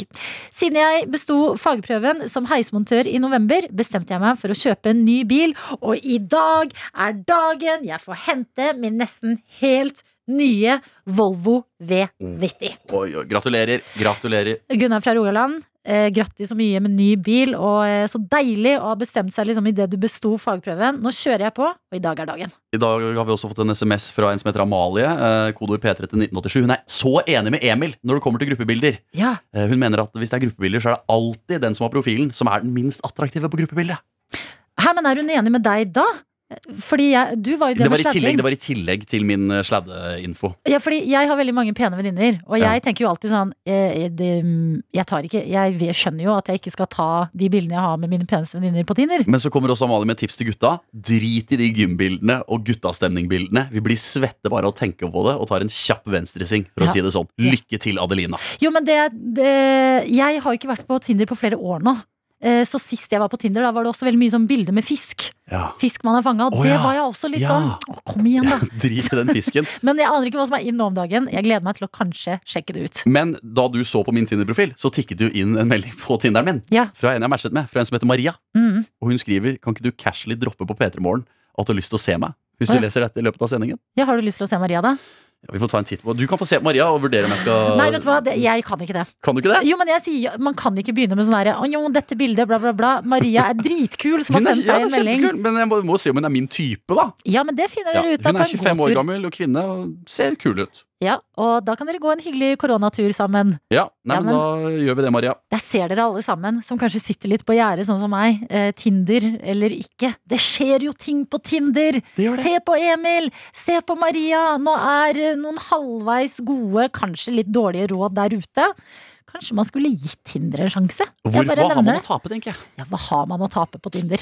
Speaker 3: Siden jeg besto fagprøven som heismontør i november, bestemte jeg meg for å kjøpe en ny bil, og i dag er dagen jeg får hente min nesten helt nye Volvo V90.
Speaker 4: Oi, oi, gratulerer. Gratulerer.
Speaker 3: Gunnar fra Rogaland, eh, grattis så mye med ny bil, og eh, så deilig å ha bestemt seg liksom idet du besto fagprøven. Nå kjører jeg på, og i dag er dagen.
Speaker 4: I dag har vi også fått en SMS fra en som heter Amalie. Eh, kodeord P3 til 1987. Hun er så enig med Emil når det kommer til gruppebilder.
Speaker 3: Ja.
Speaker 4: Eh, hun mener at hvis det er gruppebilder, så er det alltid den som har profilen, som er den minst attraktive på gruppebildet.
Speaker 3: Hæ, men er hun enig med deg da? Fordi jeg, du var jo det,
Speaker 4: Det var,
Speaker 3: med
Speaker 4: i tillegg,
Speaker 3: sladring.
Speaker 4: det var i tillegg til min eh, sladdeinfo.
Speaker 3: Ja, fordi jeg har veldig mange pene venninner, og jeg
Speaker 4: Ja.
Speaker 3: tenker jo alltid sånn eh, det, Jeg tar ikke Jeg ve- skjønner jo at jeg ikke skal ta de bildene jeg har med mine peneste venninner på Tinder.
Speaker 4: Men så kommer også Amalie med tips til gutta. Drit i de gymbildene og guttastemningbildene. Vi blir svette bare av å tenke på det, og tar en kjapp venstresving, for
Speaker 3: Ja.
Speaker 4: å si det sånn. Lykke til, Adelina.
Speaker 3: Jo, men det, det Jeg har jo ikke vært på Tinder på flere år nå. Eh, Så sist jeg var på Tinder, da var det også veldig mye sånn bilder med fisk.
Speaker 4: Ja.
Speaker 3: Fisk man har fanga, og
Speaker 4: Å,
Speaker 3: det
Speaker 4: ja.
Speaker 3: var jeg også litt
Speaker 4: Ja.
Speaker 3: sånn Å, kom igjen, da.
Speaker 4: Drit i den fisken.
Speaker 3: Men jeg aner ikke hva som er inne om dagen. Jeg gleder meg til å kanskje sjekke det ut.
Speaker 4: Men da du så på min Tinder-profil, så tikket du inn en melding på Tinderen min.
Speaker 3: Ja.
Speaker 4: Fra en jeg matchet med, fra en som heter Maria.
Speaker 3: Mm.
Speaker 4: Og hun skriver Kan ikke du casually droppe på P3 Morgen at du har lyst til å se meg? Hvis
Speaker 3: Å,
Speaker 4: du
Speaker 3: ja.
Speaker 4: leser dette i løpet av sendingen.
Speaker 3: Ja, har du lyst til å se Maria, da?
Speaker 4: Ja, vi får ta en titt på Du kan få se på Maria og vurdere om jeg skal
Speaker 3: Nei, vet du hva, det, jeg kan ikke det.
Speaker 4: Kan du ikke det?
Speaker 3: Jo, men jeg sier, jo- Man kan ikke begynne med sånn herre Å jo, dette bildet, bla, bla, bla. Maria er dritkul som har
Speaker 4: Hun er-
Speaker 3: sendt
Speaker 4: ja,
Speaker 3: deg en
Speaker 4: det er kjempekul,
Speaker 3: melding.
Speaker 4: Men jeg må, må se om hun er min type, da.
Speaker 3: Ja, men det finner
Speaker 4: Ja,
Speaker 3: dere ut av
Speaker 4: hun
Speaker 3: på
Speaker 4: er 25
Speaker 3: en god
Speaker 4: år
Speaker 3: tur.
Speaker 4: gammel og kvinne og ser kul ut.
Speaker 3: Ja, og da kan dere gå en hyggelig koronatur sammen.
Speaker 4: Ja, nei,
Speaker 3: Ja,
Speaker 4: men, da gjør vi det, Maria.
Speaker 3: Der ser dere alle sammen, som kanskje sitter litt på gjerdet, sånn som meg. Eh, Tinder eller ikke. Det skjer jo ting på Tinder!
Speaker 5: gjør det.
Speaker 3: Se på Emil! Se på Maria! Nå er eh, noen halvveis gode, kanskje litt dårlige råd der ute. Kanskje man skulle gitt Tinder en sjanse? Jeg
Speaker 4: Hvor,
Speaker 3: bare
Speaker 4: hva har
Speaker 3: nevner
Speaker 4: man
Speaker 3: det.
Speaker 4: å tape, tenker jeg.
Speaker 3: Ja, hva har man å tape på Tinder?